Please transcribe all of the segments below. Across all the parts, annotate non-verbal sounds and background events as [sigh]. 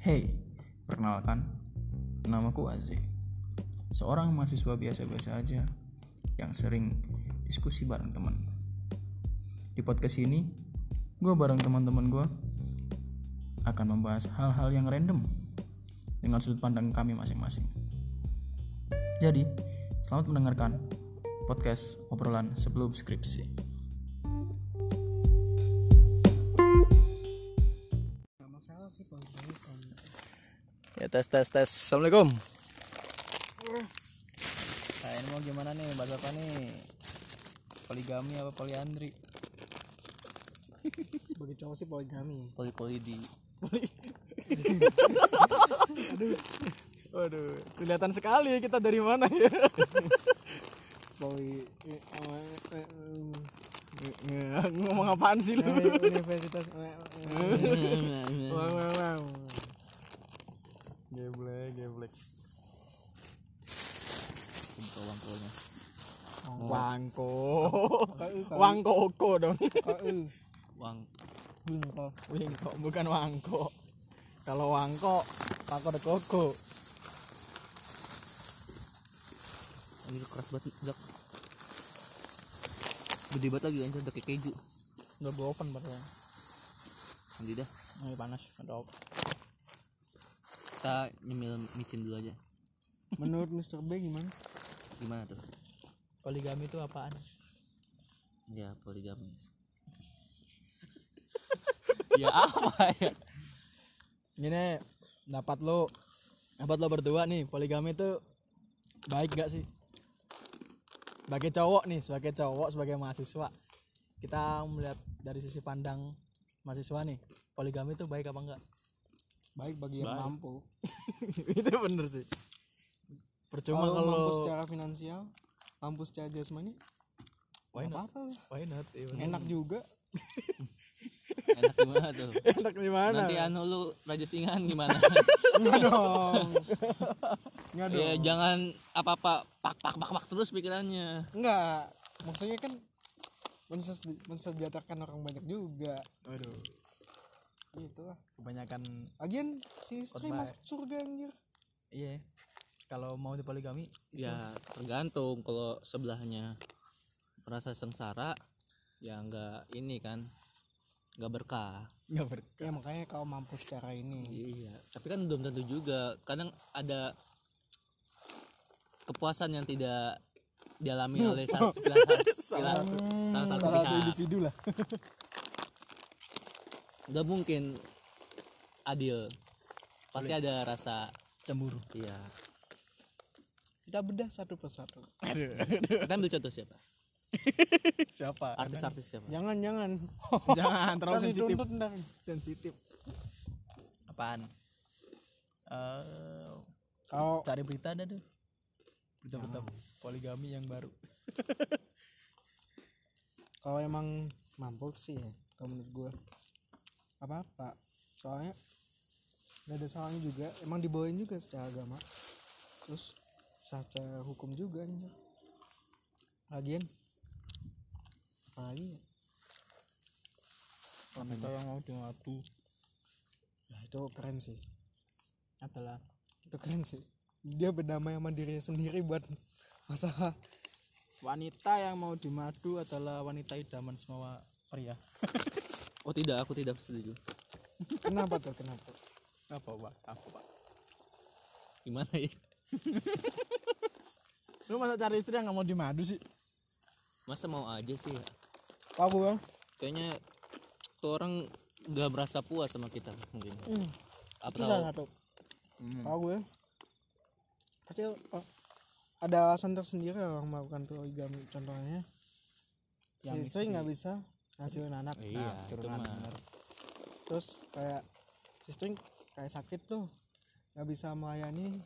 Hey, perkenalkan, namaku Aze. Seorang mahasiswa biasa-biasa aja yang sering diskusi bareng teman. Di podcast ini, gue bareng teman-teman gue akan membahas hal-hal yang random dengan sudut pandang kami masing-masing. Jadi, selamat mendengarkan podcast obrolan sebelum skripsi. Ya tes tes tes. Assalamualaikum. Nah ini mau gimana nih bahas apa nih? Poligami apa poliandri? sebagai cowok sih poligami Poli poli di. Waduh, kelihatan sekali kita dari mana [laughs] ya. poli eh, eh, eh, Ngomong apaan sih lu? eh, universitas eh, eh, eh. Wang wang wang. Geblek, geblek. Wangko. Wangko oko dong. Oh, eh, Wang. Bingko. Wingko, bukan wangko. Kalau wangko, pako de koko. Ini keras banget zak. Gede banget lagi anjir udah kayak keju. Udah gue oven padahal. Nanti dah. Ini panas, ada op- Kita nyemil micin dulu aja. menurut Mr. B gimana Gimana tuh? Poligami itu apaan? Ya poligami. ya apa ya? Gini, dapat lo dapat lo berdua nih, poligami itu baik gak sih? Sebagai cowok nih, sebagai cowok, sebagai mahasiswa. Kita melihat dari sisi pandang mahasiswa nih, poligami itu baik apa enggak? baik bagi yang mampu itu bener sih. Percuma kalau mampu kalau secara finansial mampu secara jasmani why not? apa lah. Why not? Iya, bener. enak juga Enak gimana tuh? [laughs] Enak gimana? Nanti anu lu raja singan [laughs] gimana? enggak dong enggak dong ya jangan apa-apa pak pak pak pak terus pikirannya. enggak maksudnya kan menses- mensejahterakan orang banyak juga Waduh, gitu lah kebanyakan lagian si istri Khotbah. masuk surga anjir iya. Kalau mau di poligami, Ya tergantung kalau sebelahnya merasa sengsara ya enggak ini kan enggak berkah. nggak ber. ya makanya kalau mampu secara ini Iya, tapi kan belum tentu juga. Kadang ada kepuasan yang tidak dialami oleh salah sebelah- sebelah- [laughs] salah satu salah satu pihak. individu lah Enggak mungkin adil. Pasti ada rasa Cemburu. iya. kita bedah satu persatu Kita ambil Kan contoh siapa? [laughs] Siapa? Artis-artis siapa? jangan jangan [laughs] Jangan terlalu Kan sensitif. dituntut ntar. sensitif apaan Eh kalau cari berita ada tuh berita-berita poligami yang baru kalau emang mampu sih ya kalau menurut gue apa apa soalnya gak ada salahnya juga emang dibawain juga secara agama terus secara hukum juga anjir lagian apalagi ya? wanita yang mau diadu Nah, itu keren sih adalah itu keren sih dia berdamai sama dirinya sendiri buat masalah wanita yang mau dimadu adalah wanita idaman semua pria Oh tidak, aku tidak setuju. kenapa tuh kenapa [laughs] apa pak apa pak Gimana ya? lu masa cari istri yang nggak mau dimadu sih Masa mau aja sih ya? kalau gue Kayaknya tuh orang gak merasa puas sama kita mungkin. Hmm. itu Atau salah satu ya? kalau gue Hmm. pasti oh, ada alasan tersendiri lah orang melakukan poligami contohnya yang si istri nggak bisa ngasihin anak Iya, itu mah. terus kayak si istri kayak sakit tuh nggak bisa melayani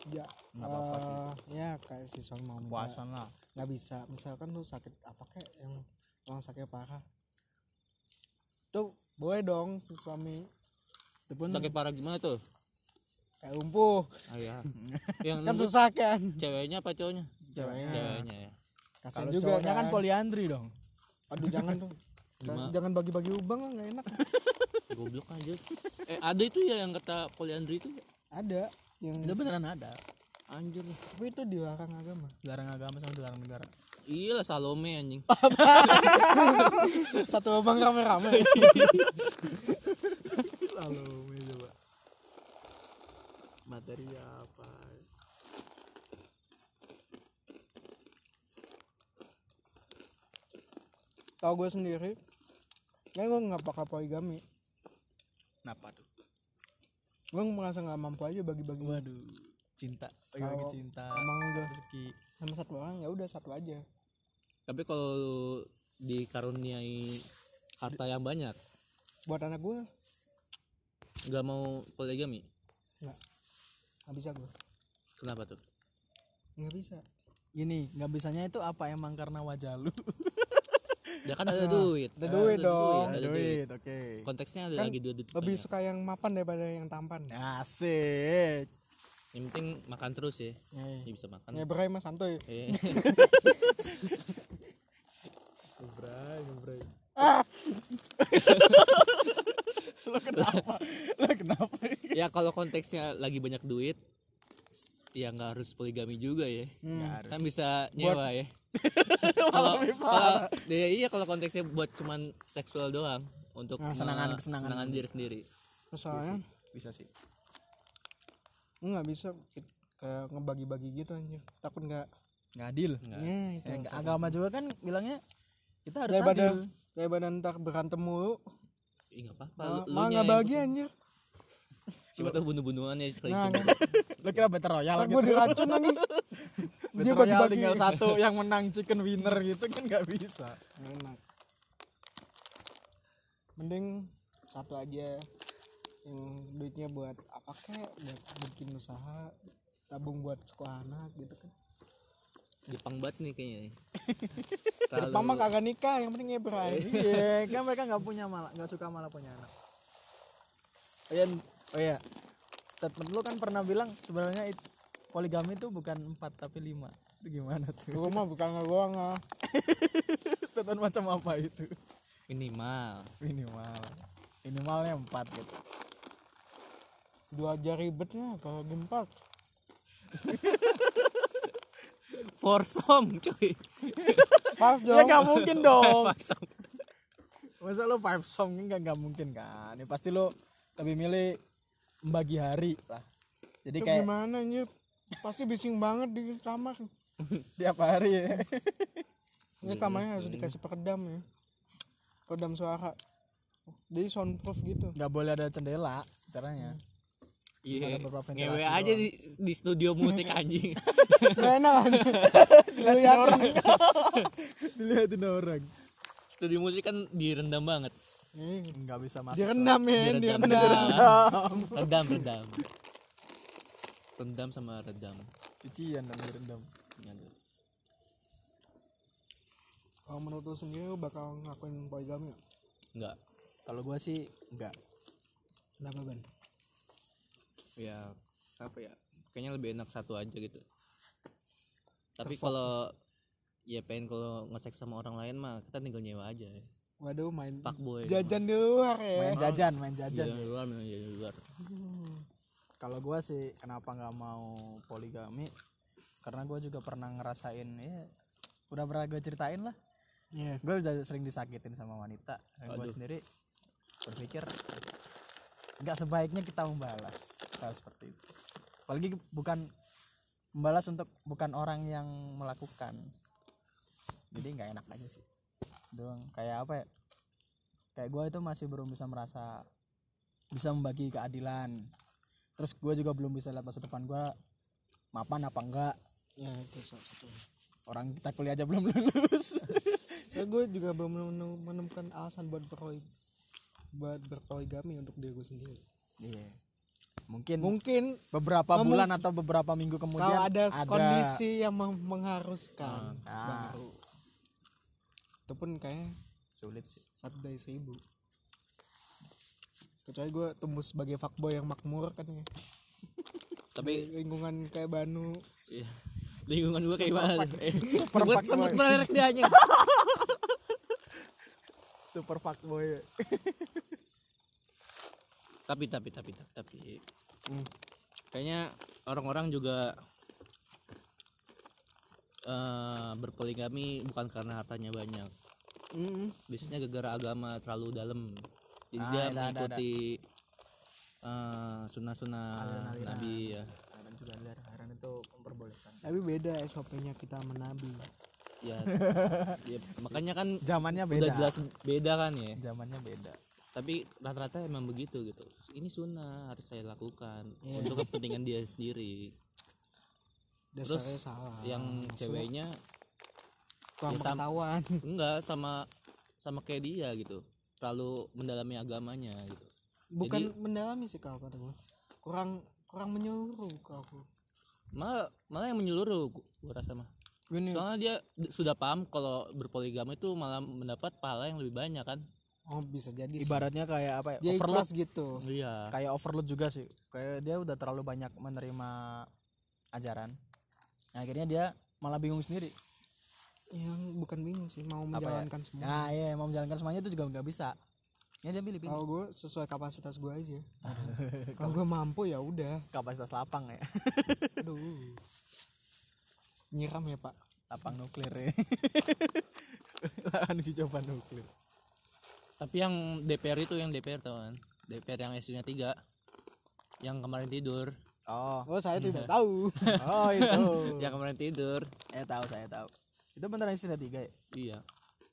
sejak eh, ya kayak si suami mau minta- puasan lah nggak bisa misalkan lu sakit apa kayak yang orang sakit parah tuh boleh dong si suami itu pun sakit parah gimana tuh? kayak lumpuh Ah, iya. yang kan nembus susah kan ceweknya apa cowoknya? Ceweknya. Ceweknya ya. kasian kalau juga ya kan? cowoknya kan poliandri dong [laughs] aduh jangan tuh jangan bagi-bagi lubang lah, nggak enak goblok aja eh ada itu ya yang kata poliandri itu ya? ada yang itu Ya beneran ada anjir lah tapi itu dilarang [laughs] agama dilarang agama sama dilarang negara iyalah salome anjing Ah. satu abang [laughs] rame-rame materi apa tau gue sendiri kan gue nggak pakai poligami kenapa tuh gue merasa nggak mampu aja bagi-bagi waduh cinta bagi-bagi Kalau cinta emang udah rezeki sama satu orang ya udah satu aja tapi kalau lu dikaruniai harta yang banyak buat anak gue nggak mau poligami nggak nggak bisa gue kenapa tuh nggak bisa ini nggak bisanya itu apa emang karena wajah lu ya kan ada duit ada duit dong ada duit duit oke konteksnya ada lagi duit, duit [laughs] lebih Iya. banyak. suka yang mapan daripada yang tampan asik [laughs] yang penting makan terus ya ya bisa makan ngebrai mas santuy Eh, [laughs] lah kenapa ya kalau konteksnya lagi banyak duit ya nggak harus poligami juga ya kan bisa nyewa ya kalau kalau ya iya kalau konteksnya buat cuman seksual doang untuk Kesenangan- me- kesenangan. senangan diri sendiri Iya soalnya bisa sih gue nggak bisa ke- kayak ngebagi-bagi gitu anjir takut nggak nggak adil ya itu Eh, agama juga kan bilangnya kita harus daripada adil daripada ntar berantem mulu Ih, nggak apa-apa ma- lu- malah lunya nggak yang bagi anjir siapa tahu bunuh-bunuhan ya sekali nah jumpa. lu kira battle royale ntar gitu gue diracun [laughs] lagi dia battle royale bagi-bagi tinggal [laughs] satu yang menang chicken winner gitu kan nggak bisa enak mending satu aja yang duitnya buat apa kek buat bikin usaha tabung buat sekolah anak gitu kan Jepang banget nih kayaknya nih. Jepang mah kagak nikah yang penting [laughs] ya ngebrai iya kan mereka nggak punya malah nggak suka malah punya anak oh iya, oh iya. statement lu kan pernah bilang sebenarnya it- poligami itu bukan empat tapi lima itu gimana tuh [laughs] gue mah bukan ngegoang ah. statement macam apa itu minimal minimal minimalnya empat gitu dua aja ribetnya kalau gempat foursome cuy pas ya dong nggak [laughs] mungkin dong masa lo five song nggak nggak mungkin kan ya pasti lo lebih milih membagi hari lah jadi Itu kayak gimana anjir pasti bising banget di kamar tiap hari [laughs] ya ini Iya, kamarnya harus dikasih peredam ya peredam suara jadi soundproof gitu nggak boleh ada cendela caranya Ada iya beberapa ventilasi ngewe aja di, di studio musik [laughs] anjing gak enak kan [laughs] dilihatin orang [laughs] dilihatin orang studio musik kan direndam banget Ih, nggak bisa masuk direndam ya direndam direndam redam redam rendam sama redam cucian dan direndam Aduh. kalau menurut lu sendiri lu bakal ngakuin poligami gak? enggak kalau gua sih nggak kenapa Ben? ya apa ya kayaknya lebih enak satu aja gitu tapi kalau ya pengen kalau ngesek sama orang lain mah kita tinggal nyewa aja ya. waduh main pak boy jajan di luar ya main jajan main jajan Jajan di luar jajan di luar Iya. kalau gua sih kenapa nggak mau poligami karena gua juga pernah ngerasain ya udah pernah gue ceritain lah Iya. gue udah sering disakitin sama wanita dan gue sendiri berpikir nggak sebaiknya kita membalas hal seperti itu apalagi bukan membalas untuk bukan orang yang melakukan jadi nggak enak aja sih doang kayak apa ya kayak gue itu masih belum bisa merasa bisa membagi keadilan terus gue juga belum bisa lihat masa depan gue mapan apa enggak ya itu salah satu orang kita kuliah aja belum [laughs] lulus ya gue juga belum menem- menemukan alasan buat berpoli buat berpoligami untuk diri gue sendiri Iya. Mungkin mungkin beberapa bulan atau beberapa minggu kemudian kalau ada, Ah. kondisi yang mem- mengharuskan Nah, baru itu pun kayaknya sulit sih. satu dari seribu kecuali gue tembus sebagai fuckboy yang makmur kan ya tapi lingkungan kayak Banu iya, [laughs] lingkungan gua kayak gimana tuh? eh, sebut sebut merek dia anjing Super fuckboy. tapi tapi tapi tapi, tapi. Hmm. kayaknya orang-orang juga eh berpoligami bukan karena hartanya banyak Mm-mm. biasanya gara-gara agama terlalu dalam jadi Ah, dia ada, ada, ada. mengikuti eh, sunnah-sunnah nabi ya Haram juga ler, haram itu memperbolehkan. tapi beda SOP-nya kita menabi [laughs] ya, ya, makanya kan Zamannya udah beda. jelas beda kan ya Zamannya beda. tapi rata-rata emang begitu gitu ini sunnah harus saya lakukan Iya. untuk [laughs] kepentingan dia sendiri dasarnya salah yang ceweknya kurang ya sam- pengetahuan [laughs] enggak sama sama kayak dia gitu terlalu mendalami agamanya gitu bukan mendalami sih kalau kata gue kurang kurang menyuruh kalau aku malah malah yang menyeluruh gu- gua rasa mah soalnya dia d- sudah paham kalau berpoligami itu malah mendapat pahala yang lebih banyak kan oh bisa jadi sih. Ibaratnya kayak apa ya? dia overload ikhlas gitu iya kayak overload juga sih kayak dia udah terlalu banyak menerima ajaran Nah, akhirnya dia malah bingung sendiri yang Ya, bukan bingung sih mau menjalankan semua nah iya mau menjalankan semuanya itu juga nggak bisa ya dia pilih pilih kalau gue sesuai kapasitas gue [laughs] aja kalau gue mampu ya udah kapasitas lapang ya aduh nyiram ya pak [laughs] lapang nuklir [laughs] ya lahan uji coba nuklir tapi yang DPR itu yang DPR tau kan DPR yang SD-nya tiga yang kemarin tidur oh oh saya [laughs] tidak tahu oh [laughs] itu yang kemarin tidur eh tahu saya tahu itu beneran istilah tiga ya iya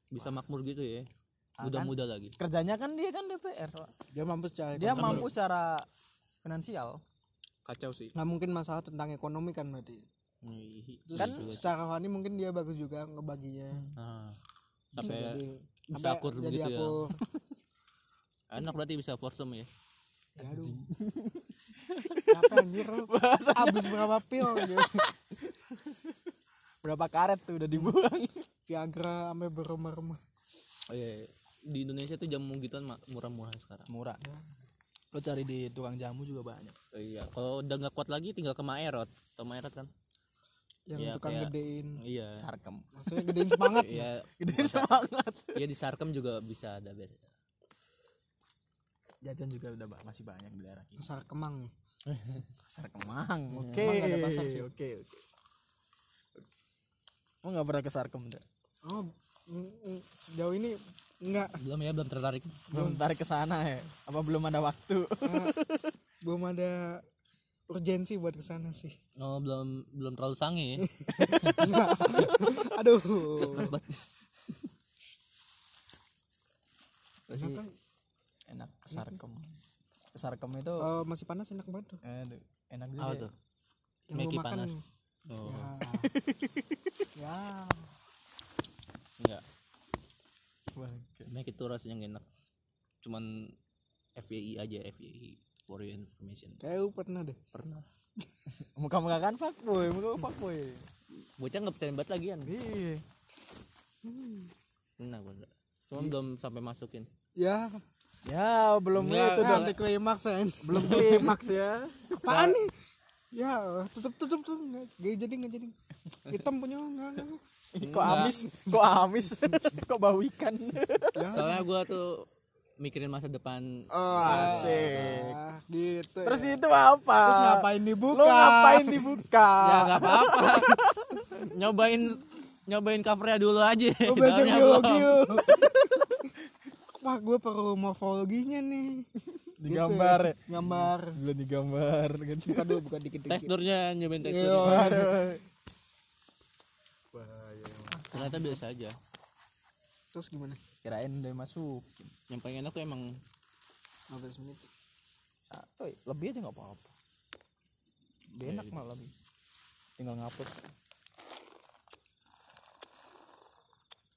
bisa makmur gitu ya Ah, muda-muda lagi kerjanya kan dia kan DPR Pak. dia mampu secara dia mampu secara finansial kacau sih nggak mungkin masalah tentang ekonomi kan berarti Terus, terus secara rohani mungkin dia bagus juga ngebaginya ah, sampai jadi bisa sampai akur jadi begitu [laughs] ya akur. enak berarti bisa foursome ya ya aduh [laughs] apa anjir lu habis berapa pil [laughs] gitu. berapa karet tuh udah dibuang Viagra sampai berumah-rumah oh iya, iya. di Indonesia tuh jamu gituan ma- murah-murah sekarang [laughs] murah lo cari di tukang jamu juga banyak Oh iya kalau udah nggak kuat lagi tinggal ke Maerot atau Maerot kan yang Iya, tukang kayak- gedein iya sarkem maksudnya gedein [laughs] semangat iya gede semangat iya di Sarkem juga bisa ada beda jajan juga udah ba- masih banyak di daerah kita Iya, pasar kemang pasar kemang oke Emang ada pasar sih? oke oke lo nggak pernah ke sarkem Dra? oh mm, mm, sejauh ini enggak belum ya belum tertarik belum tarik ke sana ya apa belum ada [laughs] waktu belum ada urgensi buat kesana sih [laughs] oh belum belum terlalu sange ya aduh Gua sih kan enak ke sarkem Ke sarkem itu Eh, masih panas enak banget tuh aduh, enak juga apa ya. tuh yang Meki gue makan panas oh ya, [laughs] ya. enggak Mac itu rasanya nggak enak cuman FYI aja FYI for your information kayak lu pernah deh pernah muka-muka kan fuckboy muka fuckboy bocah nggak percaya banget lagian iya pernah gua enggak cuman belum sampai masukin ya ya belum Nggak, itu itu dong anti klimaks kan [laughs] belum klimaks ya apaan nih ya tutup tutup tuh nggak nggak jadi nggak jadi hitam punya lu, nggak nggak, nggak. kok amis kok amis [laughs] kok bau ikan soalnya gua tuh mikirin masa depan oh, asik ah, gitu terus ya. itu apa terus ngapain dibuka lo ngapain dibuka ya nggak apa-apa nyobain nyobain covernya dulu aja lu Oh, belajar Dalamnya biologi belum. lu [laughs] wah gue perlu morfologinya nih Gitu digambar ya gambar belum digambar kan buka dulu buka dikit dikit teksturnya nyobain Iya. teksturnya Waduh. ternyata biasa aja terus gimana kirain udah masuk yang paling enak tuh emang 15 menit satu ya. lebih aja nggak apa-apa Lebih enak malah lebih tinggal ngapus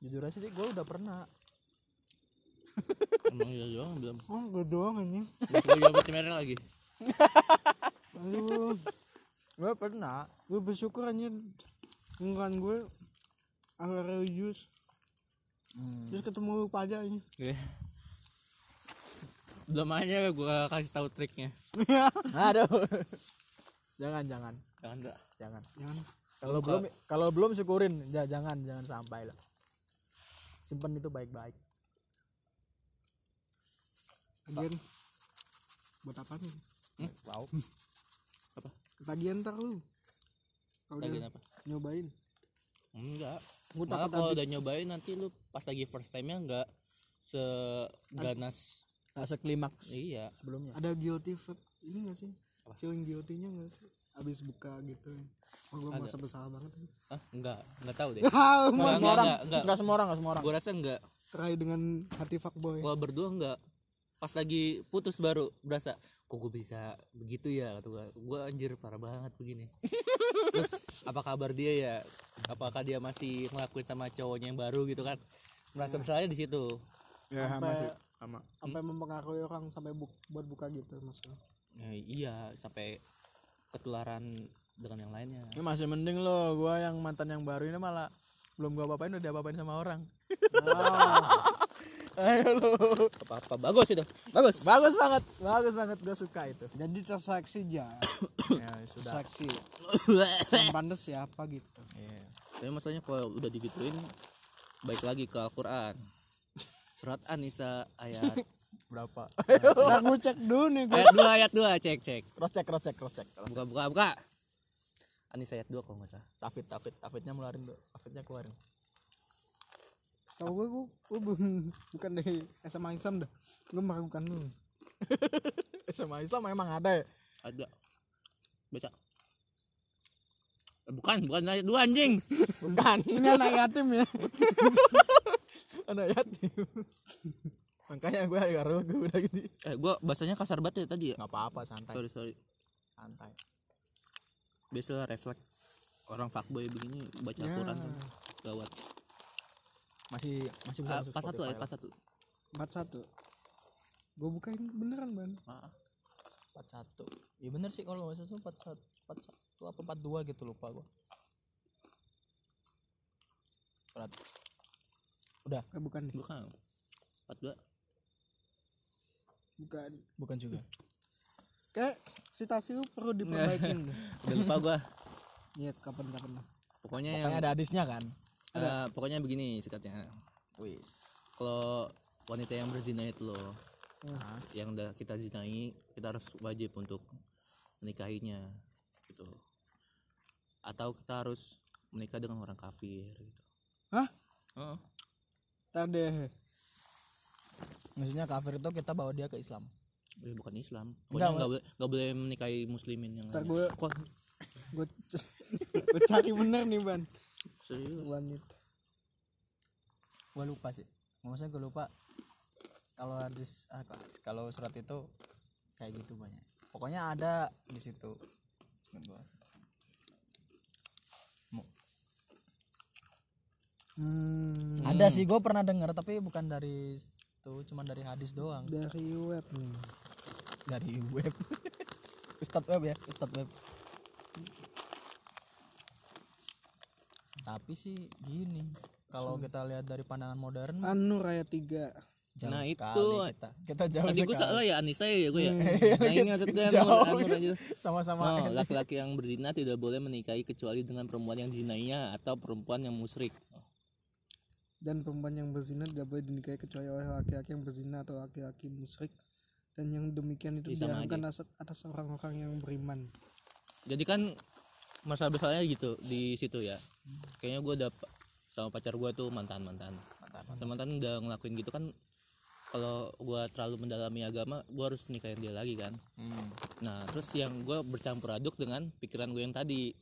jujur aja sih gue udah pernah emang iya doang belum oh gue doang aja gue juga cemerah lagi aduh gue pernah gue bersyukur aja lingkungan gue agak religius Hmm. terus ketemu lu aja aja Iya. belum aja gue kasih tahu triknya Iya. aduh [laughs] jangan jangan jangan enggak jangan jangan kalau belum kalau belum syukurin Ja- jangan jangan sampai lah simpen itu baik-baik Lagian buat apa nih Wow. Apa? ketagihan ntar lu kalau Lagi udah apa? nyobain Enggak. Gua takut Malah kalau habis. udah nyobain nanti lu pas lagi first time-nya enggak seganas Nah, seklimaks iya. sebelumnya. ada guilty vape ini gak sih feeling guilty-nya gak sih abis buka gitu oh, gue merasa bersalah banget Ah, enggak, enggak tahu deh. ah Enggak, enggak, enggak, enggak. Enggak semua orang, enggak semua orang. Gua rasa enggak. try dengan hati fuckboy Kalau berdua enggak. Pas lagi putus baru berasa kok gue bisa begitu ya kata gua. Gua anjir parah banget begini. Terus apa kabar dia ya? Apakah dia masih ngelakuin sama cowoknya yang baru gitu kan? Merasa bersalahnya di situ. ya sama sih sama sampai mempengaruhi orang sampai bu- buat buka gitu maksudnya Ya, iya, sampai ketularan dengan yang lainnya. Ini masih mending loh, gua yang mantan yang baru ini malah belum gua apain udah apain sama orang. Ayo lo. Apa-apa bagus itu. Bagus. Bagus banget, bagus banget gua suka [coughs] itu. jadi terseksi aja ya sudah terseksi yang pantas siapa gitu Iya. Tapi masalahnya kalau udah digituin baik lagi ke Al-Qur'an. Surat An-Nisa ayat berapa [laughs] ntar gue cek dulu nih ayat 2 ayat 2 cek cek. Cross check, cross check, cross check. Buka buka buka. An-Nisa ayat 2 kalau nggak salah. Tafid, tafid, tafidnya ngeluarin tuh. Tafidnya keluarin. tau gue gue gue belum bukan dari SMA Islam dah gue meragukan lu SMA Islam emang ada ya? Ada. Baca. Eh, Bukan, bukan ayat 2 anjing. Bukan. ini anak yatim [laughs] ya anak yatim makanya gue agak rugi udah gitu Eh, gua bahasanya kasar banget ya tadi ya. nggak apa-apa santai Sorry, sorry. santai Biasalah refleks orang fuckboy begini baca Al-Qur'an kan. Gawat. masih masih bisa Ah, masuk Pas satu Spotify ayat lah. pas satu. empat satu gue bukain beneran ban Maaf. 41 ya bener sih kalau nggak salah 41 41 apa 42 gitu lupa gue surat udah eh, bukan deh Bukan. 42. bukan bukan juga kayak sitasi lu perlu [laughs] diperbaikin deh. Udah lupa gua. Iya, kapan-kapan lah. Pokoknya yang kayak ada hadisnya kan Eh, pokoknya begini sikatnya. wih Kalau wanita yang berzina itu loh, Hmm. yang udah kita zinai, kita harus wajib untuk menikahinya, gitu. Atau kita harus menikah dengan orang kafir, gitu. Hah? Oh. Heeh. Ntar deh. maksudnya kafir itu kita bawa dia ke Islam Eh, bukan Islam. Pokoknya nggak boleh nggak boleh menikahi muslimin yang Ntar lain. gue Kok gue [laughs] gue cari bener nih ban. serius? Wanita. gue lupa sih maksudnya gue lupa kalau hadis ah, kok- kalau surat itu kayak gitu banyak pokoknya ada di situ Ingat gua. Mu- Hmm, ada sih gue pernah dengar tapi bukan dari itu cuman dari hadis doang dari web nih. dari web [laughs] Ustadz web ya Ustadz web tapi sih gini kalau Hmm. kita lihat dari pandangan modern mah Anu Raya 3. jauh Nah, itu- sekali kita kita jauh Tadi gue sekali salah ya Anissa ya gue ya. Nah ini [laughs] maksudnya Anur, Anur aja. sama-sama Oh, laki-laki yang berzina tidak boleh menikahi kecuali dengan perempuan yang zinainya atau perempuan yang musyrik. Dan perempuan yang berzina tidak boleh dinikahi kecuali oleh laki-laki yang berzina atau laki-laki musyrik. Dan yang demikian itu Iya, sama diharamkan atas, atas orang-orang yang beriman. jadi kan masalah besarnya gitu di situ ya kayaknya gue udah pa- sama pacar gue tuh mantan mantan mantan mantan udah ngelakuin gitu kan kalau gue terlalu mendalami agama gue harus nikahin dia lagi kan Hmm. nah terus yang gue bercampur aduk dengan pikiran gue yang tadi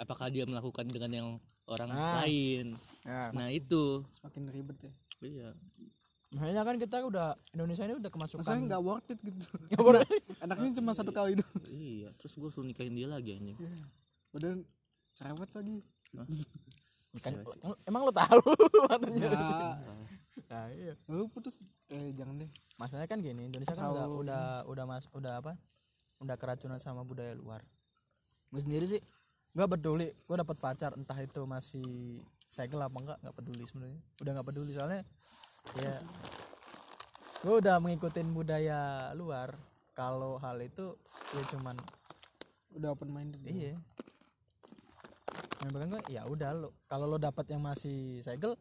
apakah dia melakukan dengan yang orang lain nah itu Semakin ribet ya. iya makanya kan kita udah Indonesia ini udah kemasukan [laughs] Ya, Saya nggak worth it [laughs] gitu. [laughs] Anaknya cuma satu kali doang. iya terus gue suruh nikahin dia lagi anjing Udah cerewet lagi. kan, emang- emang lo tahu [laughs] matanya Ya, nah, iya. lu putus eh jangan deh. masalahnya kan gini Indonesia kan udah udah udah mas udah apa udah keracunan sama budaya luar gue sendiri sih gue peduli gue dapet pacar entah itu masih segel apa enggak nggak peduli sebenarnya udah nggak peduli soalnya ya gue udah mengikutin budaya luar kalau hal itu ya cuman Udah open [laughs] minded. iya yang bahkan gue ya udah lo kalau lo dapat yang masih segel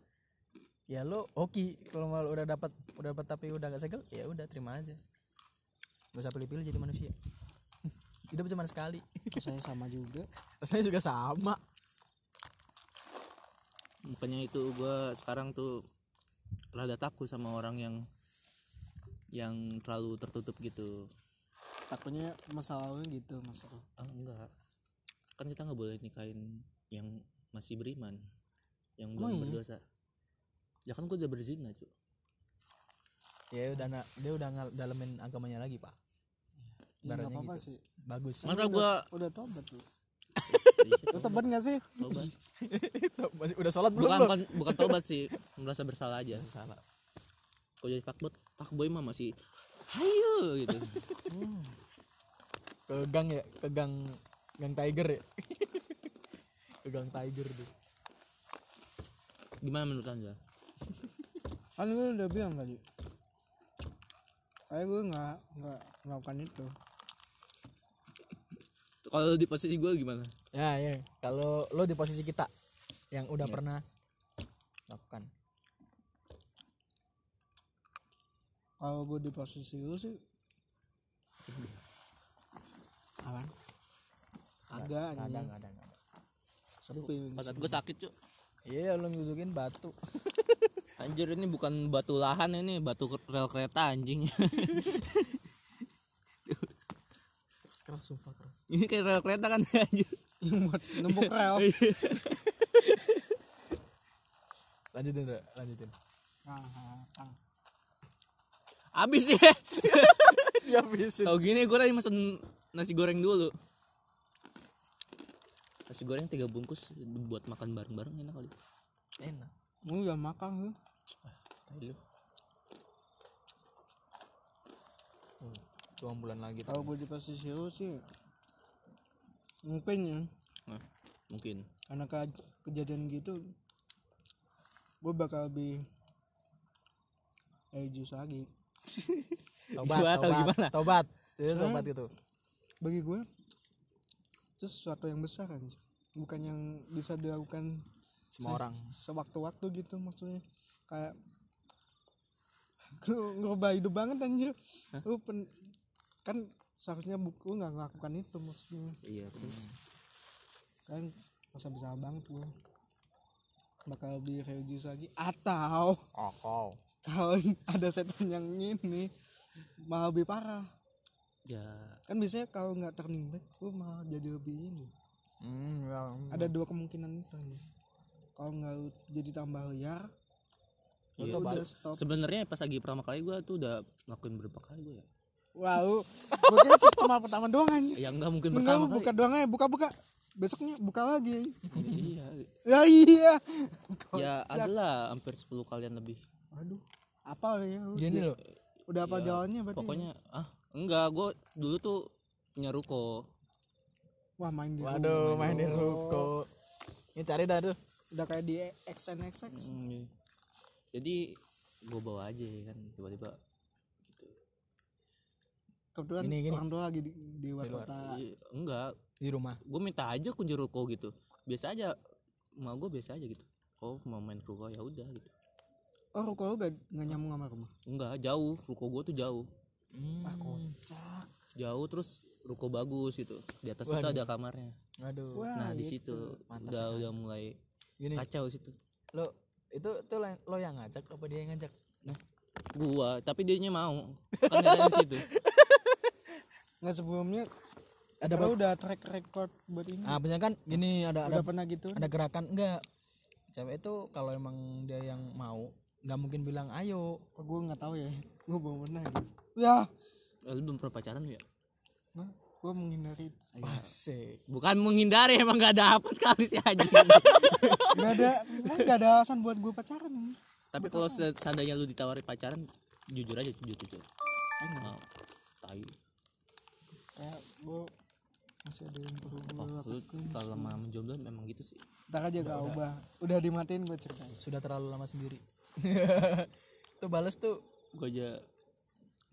ya lo oke kalau mal udah dapat udah dapat tapi udah gak segel ya udah terima aja Gak usah pilih-pilih jadi manusia. [laughs] Hidup cuma sekali. saya sama juga Rasanya juga sama. makanya itu gua sekarang tuh rada takut sama orang yang yang terlalu tertutup gitu takutnya masalahnya gitu maksudku ah enggak kan kita nggak boleh nikahin yang masih beriman yang belum berdosa ya kan gua udah berzina cuy Ya udah na- dia udah ngal- dalemin agamanya lagi, Pak. gitu. ya, nggak apa-apa sih Bagus. masa gitu. iya? gua Iya, udah tobat lu lu [laughs] tobat nggak sih tobat [laughs] Masih udah sholat belum? bukan Bro? bukan, bukan tobat sih merasa bersalah aja Salah. kalau jadi fuckboy fuckboy mah masih hayo gitu Ke gang ya, ke gang gang Tiger ya. [laughs] ke gang Tiger deh. gimana menurut anda kan gue udah bilang tadi kayak gue nggak nggak melakukan itu kalau di posisi gua gimana Ya, ya. Kalau lo di posisi kita yang udah pernah lakukan. kalau gue di posisi lu sih Apaan? agak Ada anjing enggak ada enggak. ada. sepi pantat gua sakit cuy Iya, lo nyusukin batu. Anjir ini bukan batu lahan ini batu ke- rel kereta anjing. keras, keras sumpah keras. ini kayak rel kereta kan [laughs] anjir. numpuk rel Lanjutin, Dra, lanjutin. Tang, tang, tang. Abis ya. [laughs] ya bisa. Tahu gini gue tadi pesen nasi goreng dulu. Nasi goreng tiga bungkus buat makan bareng-bareng enak kali. Enak. Lu udah makan lu Ayo. Cuma bulan lagi tuh. kalau gue di posisi lu sih mungkin ya Nah, mungkin. karena ke- kejadian gitu gue bakal lebih religius lagi Tobat, Gua tahu tobat, gimana? tobat. Serius tobat gitu. bagi gue itu sesuatu yang besar kan bukan yang bisa dilakukan Semua orang. sewaktu-waktu gitu maksudnya kayak [laughs] lu ngerubah hidup banget anjir lu pen- kan seharusnya bu- lu nggak melakukan itu maksudnya Iya. kan masa besar banget gue bakal lebih religius lagi atau Oh, kau. kalau [laughs] ada setan yang ini malah lebih parah Ya kan biasanya kalau nggak turning back gue malah jadi lebih ini Hmm, ya. ada dua kemungkinan itu nih kalau nggak lu jadi tambah liar Iya, lu udah se- stop sebenarnya pas lagi pertama kali gue tuh udah lakuin berapa kali gue ya? wow gue kira cuma pertama doang anjir Ya enggak mungkin enggak pertama lu buka doang aja buka buka besoknya buka lagi kali. iya. ya iya Ya adalah hampir 10 kalian lebih. aduh apa ya lu? Gini loh. udah apa jalannya berarti Pokoknya ah enggak gue dulu tuh punya ruko. wah main di ya Waduh, main di ruko. Ini cari dah tuh. udah kayak di XNXX Hmm, Jadi gue bawa aja kan tiba-tiba kebetulan Gini, gini. orang tua lagi di, di luar kota Iya, enggak Di rumah. gue minta aja kunci ruko gitu biasa aja mau gue biasa aja gitu oh mau main ruko ya udah gitu oh ruko lu gak, gak nyambung sama rumah enggak jauh ruko gue tuh jauh Hmm. Ah, Hmm. jauh terus ruko bagus gitu di atas itu ada kamarnya Waduh. wah iya. nah di situ udah udah mulai Gini. kacau situ Lo itu tuh lo yang, lo yang ngajak apa dia yang ngajak? nah gua tapi dianya mau kan ada di situ nggak sebelumnya ada udah track record buat ini Ah, misalkan gini ada ada udah pernah gitu ada gerakan enggak? Cewek itu kalau emang dia yang mau nggak mungkin bilang ayo oh, gue nggak tahu ya gue belum pernah gitu. ya Eh, lu belum pernah pacaran lu ya nah, gue menghindari itu. asik bukan menghindari emang gak dapet kali sih aja nggak ada emang nggak ada alasan buat gue pacaran ini. [laughs] tapi kalau se- seandainya lu ditawari pacaran jujur aja jujur jujur Oh, mau tahu kayak gue Ya, masih ada yang perlu gue lu terlalu lama menjomblo memang gitu sih ntar aja gak ubah udah dimatiin gue cerita sudah terlalu lama sendiri [laughs] tuh bales tuh gua aja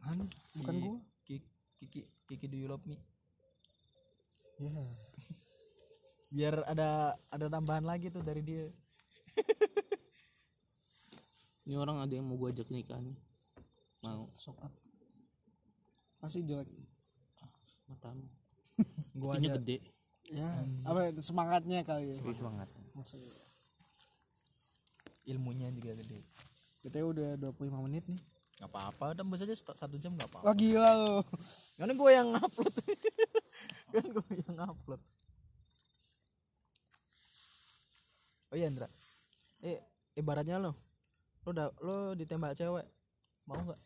Mana? bukan si gue Ki- Kiki Kiki do you love me? ya biar ada ada tambahan lagi tuh dari dia ini orang ada yang mau gua ajak nikahan nih. mau sokap pasti jelek [laughs] matamu Gua aja. Intinya gede ya apa ya, semangatnya kali ya semangat Masuk. Ilmunya juga gede. kita udah 25 menit nih Gak apa-apa, tembus aja st- satu jam gak apa-apa. wah gila lo Karena gue yang upload. [laughs] kan gue yang upload. Oh iya Indra. Eh ibaratnya lo lo udah lo ditembak cewek. Mau nggak?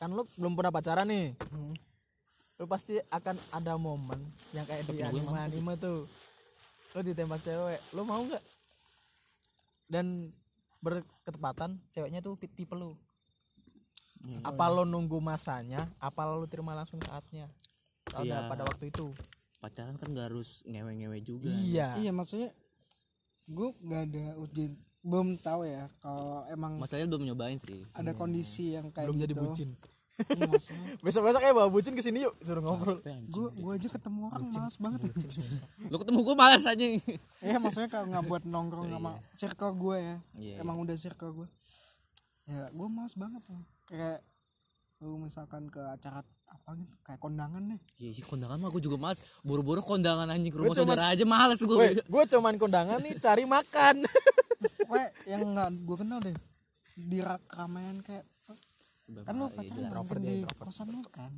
Kan lo belum pernah pacaran nih. Hmm. Lo pasti akan ada momen yang kayak di anime anime tuh. Lo ditembak cewek, lo mau nggak? Dan berketepatan ceweknya tuh ti- tipe lo. Apa lo nunggu masanya, apa lo terima langsung saatnya? Tahu nggak Iya. pada waktu itu. pacaran kan gak harus ngewe-ngewe juga Iya. [laughs] iya maksudnya gue nggak ada urgen belum tahu ya kalau emang masalahnya belum nyobain sih ada kondisi yang kayak Belum gitu jadi bucin. [laughs] Besok-besok kayak bawa bucin ke sini yuk, suruh ngobrol. gue gue aja ketemu orang males banget lu ketemu gue malas aja ya maksudnya kalau nggak buat nongkrong sama circle gue ya Iya, emang udah circle gue ya gue males banget lah. kayak lu misalkan ke acara apa gitu kayak kondangan deh Iya, iya, kondangan mah gue juga malas. Buru-buru kondangan anjing ke rumah saudara aja malas gue. Gue cuman kondangan nih cari makan. [laughs] kayak yang nggak gue kenal deh di ra- keramaian kayak kan Iya, lu pacaran mungkin di kosan lu kan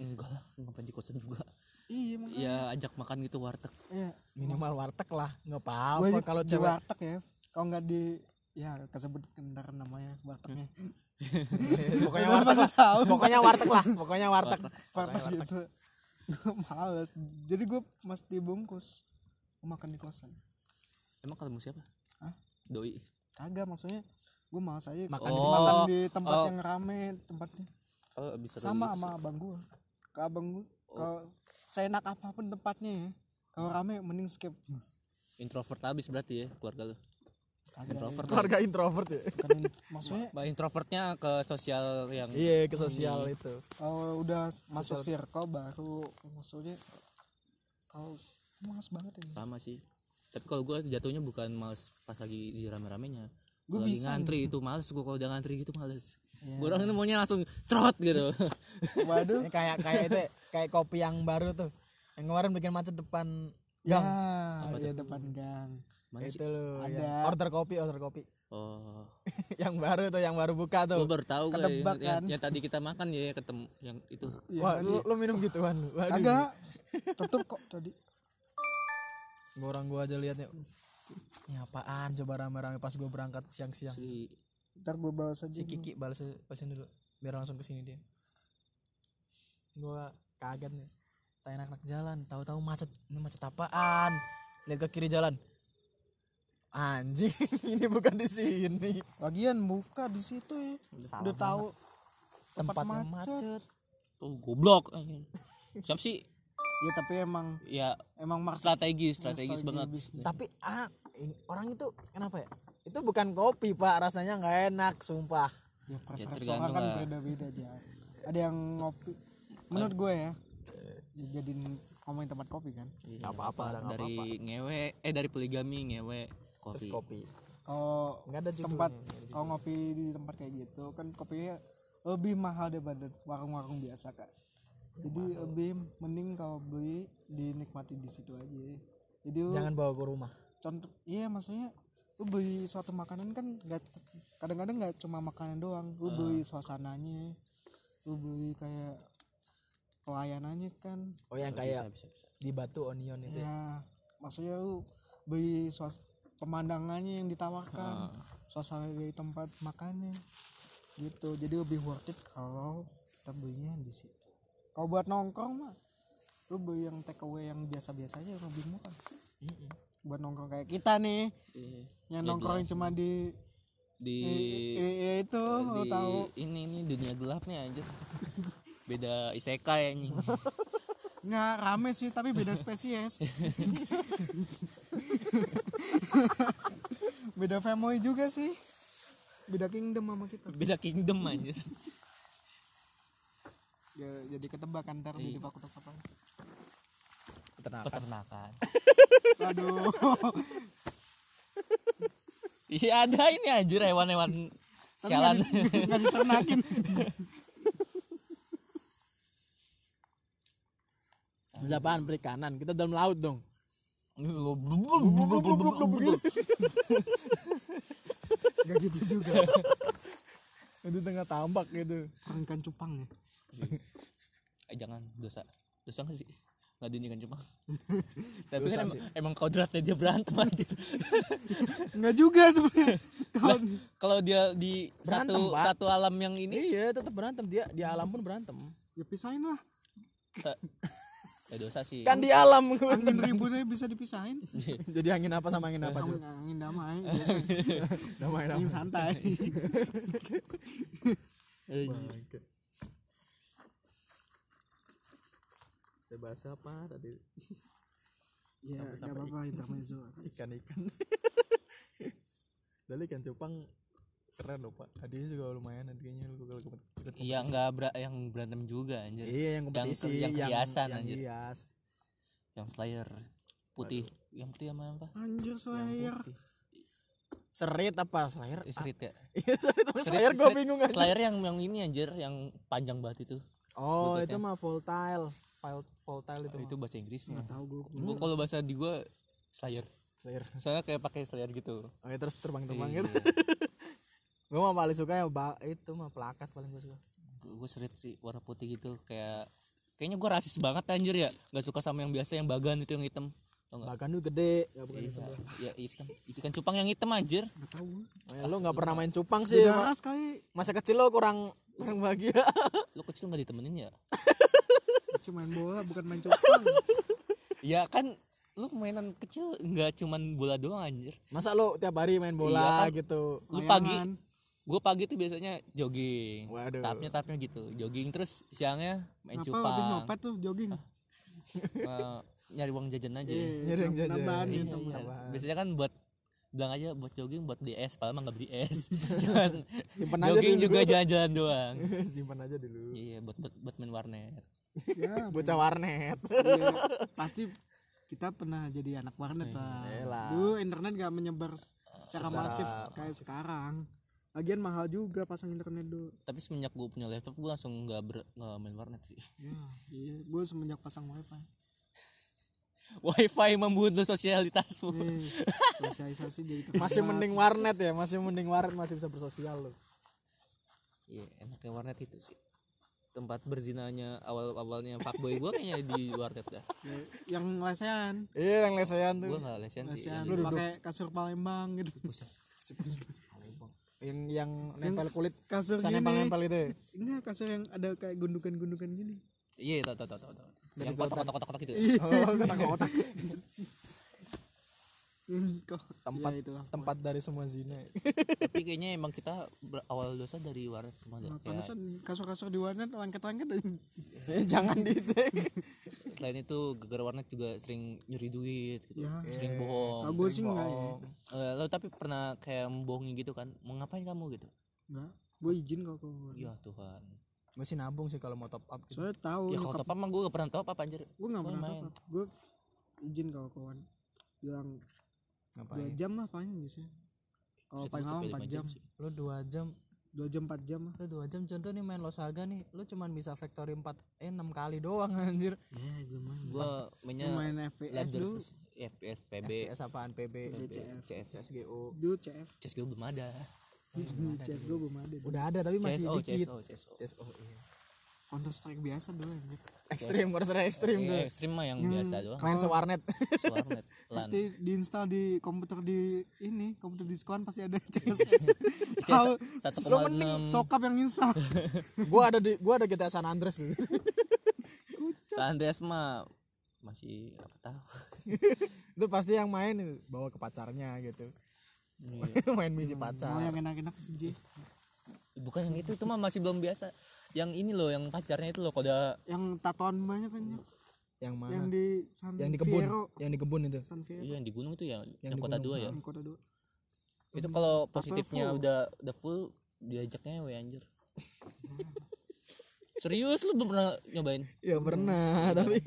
Enggak lah, ngapain di kosan juga. iya makanya Ya ajak makan gitu warteg. iya Minimal warteg lah, nggak gue apa-apa kalau cewek warteg ya kalau nggak di ya kesebut kendar namanya wartegnya pokoknya warteg lah. Pokoknya warteg lah, pokoknya warteg. [laughs] warteg gitu [laughs] gue males jadi gue mesti bungkus Gua makan di kosan Emang ketemu siapa? Hah? Doi. kagak maksudnya gue males aja Makan di, di- makan Oh, di tempat oh. yang rame tempatnya Oh, bisa sama sama abang gue ke abang gue kalau seenak apapun tempatnya ya kalau rame mending skip introvert abis berarti ya keluarga lu. Introvert. lah. Keluarga introvert ya. Karena maksudnya Bah, introvertnya ke sosial yang Iya, ke sosial itu. kalau udah masuk circle baru maksudnya kalau males banget ya sama sih. Tapi kalau gue jatuhnya bukan males pas lagi di rame-ramenya. Gua Gua lagi bisa ngantri itu males gue kalau udah ngantri gitu males. Gue orang itu maunya langsung cerot gitu. waduh Ini kayak kayak itu kayak kopi yang baru tuh. Yang kemarin bikin macet depan gang. ah, ya depan gang Mana sih? itu loh, Ada. ya. order kopi, order kopi. [laughs] Oh. yang baru tuh, yang baru buka Gue tuh. baru tahu gua yang, Ketebak yang, kan. yang tadi kita makan ya yang ketemu yang itu. Wah, lu, lu minum gituan lu. Waduh. Iya, kagak tutup kok tadi Borang gua aja liatnya. Ini apaan coba rame-rame pas gua berangkat siang-siang. Si ntar gue balas aja Si Kiki balas pasien dulu biar langsung kesini dia. Gua kaget nih. Tanya anak-anak jalan, tahu-tahu macet. Ini macet apaan? Lihat ke kiri jalan. Anjing, [laughs] ini bukan di sini. lagian buka di situ ya udah tahu Tempatnya macet. tuh goblok. Siapa sih? ya tapi emang Ya emang market strategis, strategis banget. Tapi ah, ini- orang itu kenapa ya? Itu bukan kopi, Pak. Rasanya nggak enak, sumpah. ya preferensi tergantung orang kan lah. beda-beda aja ada yang ngopi menurut gue ya ya jadiin ngomongin tempat kopi kan Gak apa-apa Iya. dari ngewe eh dari poligami ngewe kopi. Kopi. kalau Nggak Gitu ada juga tempat kalau ngopi di tempat kayak gitu kan kopinya lebih mahal daripada warung-warung biasa kan jadi lebih mending kalau beli dinikmati di situ aja jadi lu Jangan bawa ke rumah. contoh iya maksudnya lu beli suatu makanan kan nggak kadang-kadang nggak cuma makanan doang lu beli suasananya lu beli kayak pelayanannya kan Oh, yang kayak di Batu Onion itu. gitu ya. ya maksudnya lu beli suas pemandangannya yang Ah. ditawarkan suasana dari tempat makannya gitu jadi lebih worth it kalau kita belinya di situ kalau buat nongkrong mah lu beli yang take away yang biasa-biasa aja lebih murah buat nongkrong kayak kita nih yang nongkrong cuma di Iya. Di i- i- itu lu di tahu ini ini dunia gelap nih [laughs] anjir. Beda isekai anjing. [laughs] nggak rame sih tapi beda spesies beda family juga sih beda kingdom sama kita Beda kingdom anjir. ya, jadi ketebak kan ntar di fakultas apa Peternakan. Peternakan. aduh Iya ada ini anjir [laughs] hewan-hewan [laughs] sialan. nggak diternakin Bisa apaan perikanan? Kita dalam laut dong. Gak gitu juga. Itu tengah tambak gitu. Rengkan cupang ya. eh jangan dosa dosa nggak sih nggak diinginkan [laughs] cuma tapi kan emang, emang kodratnya dia berantem anjir [laughs] Enggak juga sebenarnya. Kalau kalau dia di Berantem, satu Pak. satu alam yang ini Iya, tetap berantem dia di alam pun berantem. ya pisahin lah. eh, ya dosa sih Kan di alam Angin ribut aja bisa dipisahin. [laughs] Jadi angin apa sama angin apa tuh? Angin, angin damai. biasa. Damai Angin santai. Iya. Eh, Oh Saya bahas apa tadi? Ya nggak apa-apa intermezzo. [laughs] ikan-ikan. Dari ikan cupang keren loh pak. Hadiahnya juga lumayan harganya lu kalau ikut- ikut Iya nggak bera- yang berantem juga anjir. Iya yang kompetisi yang hiasan, yang anjir. hias. Yang Slayer putih, yang putih sama apa? Anjir Slayer. Serit apa Slayer? [laughs] Eh, Serit ya. Iya serit apa Slayer Serit- gue serit- bingung aja. Slayer yang yang ini anjir, yang panjang banget itu. Oh Lututnya. itu mah volatile, Vol- volatile itu. Itu bahasa Inggrisnya. Tahu gue. Gua kalau bahasa di gua Slayer. Slayer. Soalnya kayak pakai Slayer gitu. Oke terus terbang-terbang gitu. [laughs] gue mah paling suka ya ba- itu mah plakat paling gue suka. Gue serit sih warna putih gitu kayak kayaknya gua rasis banget anjir ya. Nggak suka sama yang biasa yang bagan itu yang hitam. Tau nggak? Bahkan lu gede. Iya, ya hitam. Ikan cupang yang hitam anjir. Gak tahu. gua. Eh, lu nggak pernah main cupang sih. Beda Ma- ras kali. Masa kecil lo kurang kurang bahagia. [laughs] Lu kecil nggak ditemenin ya? Cuma main bola bukan main cupang. Ya kan lu mainan kecil nggak cuman bola doang anjir. Masa lu tiap hari main bola Iya, kan. gitu. Lu Layangan. pagi gue pagi tuh biasanya jogging. Waduh. Tapnya tapnya gitu. Jogging terus siangnya main Kenapa habis cupang. nyopet tuh jogging? [laughs] Eh, Eh, nyari uang jajan aja. Nyari yang jajan. Tambahan Iya, ya. [laughs] iya. Biasanya kan buat bilang aja buat jogging buat beli es padahal mah nggak beli [laughs] [laughs] es jangan Simpen aja jogging dulu. juga jalan-jalan [laughs] doang Simpan aja dulu. iya buat buat buat main warnet Ya, Bocah warnet. [laughs] Iya, pasti kita pernah jadi anak warnet pak. iyalah. Dulu internet gak menyebar secara masif kayak sekarang. Lagian mahal juga pasang internet dulu. tapi semenjak gue punya laptop gue langsung nggak ber- nggak main warnet sih [laughs] Ya, iya, gue semenjak pasang wifi. wifi membunuh Iya, sosialitasmu Eh, sosialisasi jadi terhambat. Masih mending warnet ya, masih mending warnet masih bisa bersosial lo. iya enaknya warnet itu sih tempat berzinanya awal awalnya fuckboy gue kayaknya di warnet dah Ya, yang lesehan, Iya yang lesehan tuh. gue nggak lesen sih lesehan pakai kasur Palembang gitu. Yang yang nempel kulit Kasur bisa gini. nempel-nempel itu. ya. Enggak, kasur yang ada kayak gundukan-gundukan gini. iya tau tau tau tau tau. yang kotak kotak kotak kotak gitu Oh, kotak-kotak. Hmm, kok Tempat ya, itulah. tempat dari semua zina. ya. tapi kayaknya emang kita ber- awal dosa dari warnet semua deh. Kayak- Pantesan kasur-kasur di warnet lengket-lengket. [laughs] Eh, Jangan di Iya. selain itu gegar warnet juga sering nyuri duit gitu Ya. sering bohong Kalau gue sih enggak ya. Eh, lo tapi pernah kayak membohongi gitu kan mau ngapain kamu gitu Enggak, gue izin kok ke warnet. ya Tuhan Gue sih nabung sih kalau mau top up gitu. soalnya tahu ya kalau top up mah gue gak pernah top up anjir gue nggak Gua pernah main. top up gue izin kalau kawan bilang dua Ngapain? jam lah paling biasanya kalau Buset, paling gua lama sampai empat lima jam sih. Lu dua jam dua jam empat jam lah lu dua jam contoh nih main Losaga nih lu cuman bisa factory 4 eh 6 kali doang [laughs] anjir ya gue main gue mainnya main FPS Ladder dulu Fus- FPS PB FPS apaan PB CF CSGO dulu CF CS gue belum ada Iya, CS gue belum ada dulu. udah ada tapi masih CSO dikit CSO CSO CSO iya. Counter Strike biasa dulu anjir ekstrim counter strike ekstrim tuh Iya, ekstrim mah yang biasa doang kalian sewarnet [laughs] warnet lan pasti diinstal di komputer di ini komputer diskon pasti [laughs] ada CS CS tahu 1,6 sokap yang [laughs] install gua ada di gua ada GTA San Andreas [laughs] dulu. San Andreas mah masih apa tahu [laughs] itu pasti yang main itu, bawa ke pacarnya gitu [laughs] main misi mau pacar yang enak-enak sih Ji. bukan yang itu itu mah masih belum biasa yang ini loh yang pacarnya itu loh koda yang tatoan banyak anjir yang yang mana di San yang di kebun Fierro. yang di kebun itu San Fierro iya yang di gunung itu ya di yang, kota gunung, dua ya yang kota dua itu kalau Apple positifnya full. udah udah full diajaknya we anjir [laughs] serius lu belum pernah nyobain ya pernah tapi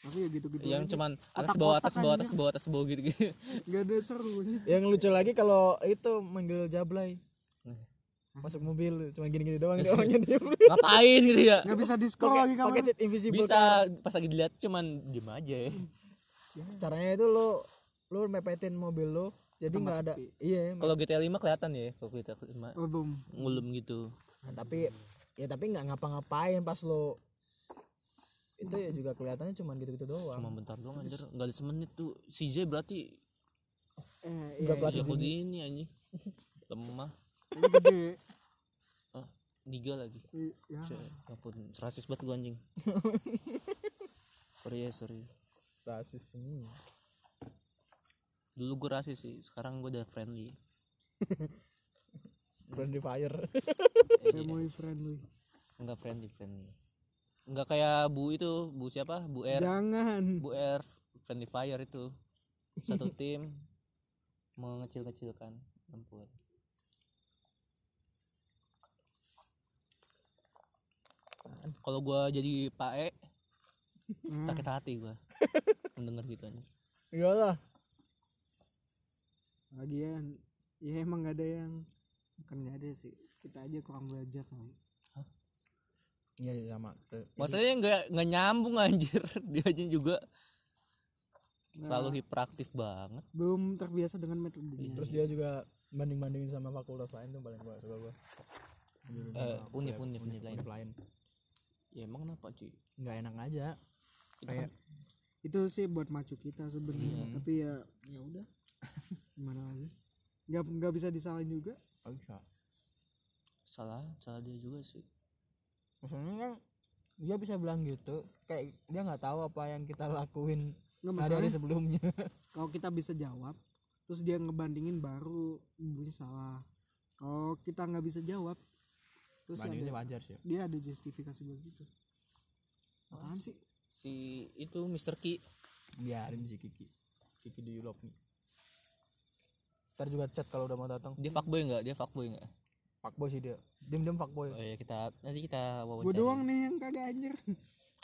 tapi ya gitu-gitu yang aja. cuman atas Otak-otak bawah atas bawah anjir. atas bawah atas bawah gitu [laughs] gitu nggak ada serunya Nah, yang lucu lagi kalau itu manggil Jablay Hmm. masuk mobil cuma gini-gini [laughs] doang dia orangnya diem ngapain gitu ya nggak bisa diskon lagi kamu [laughs] pakai cat invisible bisa pas lagi dilihat cuman diem aja ya caranya itu lo lo mepetin mobil lo jadi nggak ada iya kalau GTA 5 kelihatan ya kalau GTA 5 album ngulum gitu Nah, tapi ya tapi nggak ngapa-ngapain pas lo itu ya juga kelihatannya cuman gitu-gitu doang. cuma bentar doang anjir nggak ada semenit tuh CJ berarti eh Enggak Iya, pelatih aku di ini anjing. Lemah. ini gede Ah, niga lagi. I- ya Cek, ampun, rasis banget gua anjing. sorry ya, sorry. rasis ini. Dulu gua rasis sih, sekarang gua udah friendly. Friendly fire. [laughs] family friendly Enggak Eh, friendly, friendly. Enggak kayak Bu itu, Bu siapa? Bu R. jangan Bu R friendly fire itu. [laughs] Satu tim mengecil-kecilkan ampun. Kalau gua jadi Pak E, sakit hati [laughs] gua mendengar gitu aja Enggak Iya lah. lagian ya emang gak ada yang bukan gak ada sih kita aja kurang belajar kan. kali Iya iya, sama. maksudnya nggak nggak nyambung anjir [laughs] dia aja juga selalu hiperaktif banget belum terbiasa dengan Iya, metodenya Terus dia juga banding-bandingin sama fakultas lain tuh paling gua suka gua. Eh, unif unif unif lain Lain ya emang kenapa cuy enggak enak aja. kita kan itu sih buat macu kita sebenarnya Iya. tapi ya ya [laughs] udah gimana lagi nggak nggak bisa disalahin juga Oh, iya. bisa. salah salah dia juga sih Maksudnya kan dia bisa bilang gitu kayak dia nggak tahu apa yang kita lakuin Nggak hari hari sebelumnya kalau kita bisa jawab terus dia ngebandingin baru ibunya salah kalau kita nggak bisa jawab terus Banding itu ada, wajar sih. dia ada justifikasi buat itu Oh, apaan sih si itu Mr. Ki Biarin si Kiki. Kiki di Yulop nih. ntar juga chat kalau udah mau datang dia fuckboy nggak dia fuckboy nggak fuckboy sih dia diem diem fuckboy oh ya kita nanti kita gue wawancara doang nih yang kagak anjir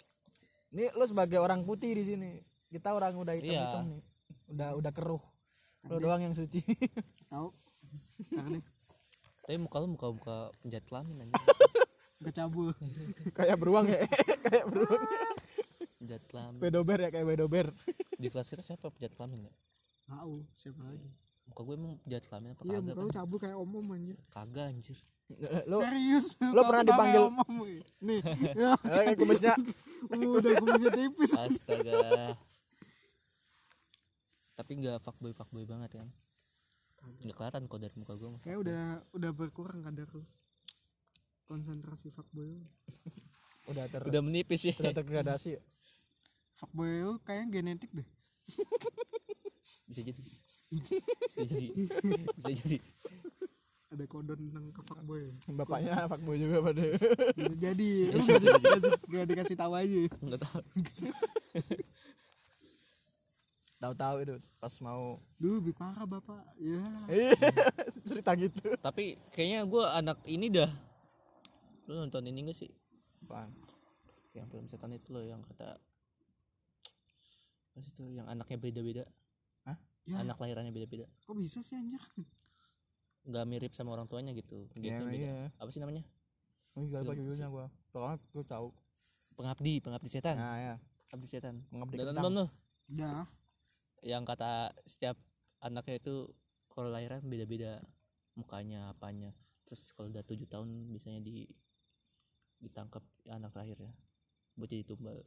[laughs] Nih lu sebagai orang putih di sini. Kita orang udah Iya. hitam-hitam nih. Udah udah keruh. Lu doang yang suci. tahu tangannya tapi muka lu muka muka penjahat kelamin anjir [laughs] kecabul kayak beruang ya. [laughs] kayak beruang. penjahat kelamin Wedober ya kayak wedober. di kelas kita siapa penjahat kelamin nggak tahu siapa lagi muka gue emang penjahat kelamin apa iya kagak kan. muka lu cabul kayak om om anjir kagak anjir lu serius lu pernah dipanggil- om nih [laughs] eh, kayak kumisnya udah kumisnya tipis Astaga. Tapi nggak fuckboy fuckboy banget kan? Nggak kelihatan kok dari muka gue. kayak udah udah berkurang kadar lu konsentrasi fuckboy lu. udah ter Udah menipis ya. udah tergradasi. fuckboy lu kayaknya genetik deh Bisa jadi. Bisa jadi. Bisa jadi. ada kodon tentang ke fuckboy Bapaknya fuckboy juga pada. bisa jadi lu gak, di- gak dikasih tahu aja Nggak tahu. [laughs] Tahu-tahu itu pas mau dulu lebih parah bapak ya Iya, [laughs] cerita gitu. Tapi kayaknya gue anak ini dah. Lu nonton ini gak sih? Apaan? Yang film setan itu loh yang kata apa sih tuh yang anaknya beda-beda. Hah? Ya. Anak lahirannya beda-beda. kok bisa sih anjir Nggak mirip sama orang tuanya gitu. Iya, Gennya beda. iya. Apa sih namanya? Oh, Lu iya, juga lupa judulnya gua. Pokoknya gua tahu. Pengabdi, pengabdi setan. Nah, ya. iya. Pengabdi setan. Pengabdi Eh. Udah kentang. nonton loh. udah yang kata setiap anaknya itu kalau lahiran beda-beda mukanya apanya terus kalau udah tujuh tahun biasanya di ditangkap anak terakhirnya buat jadi tumbal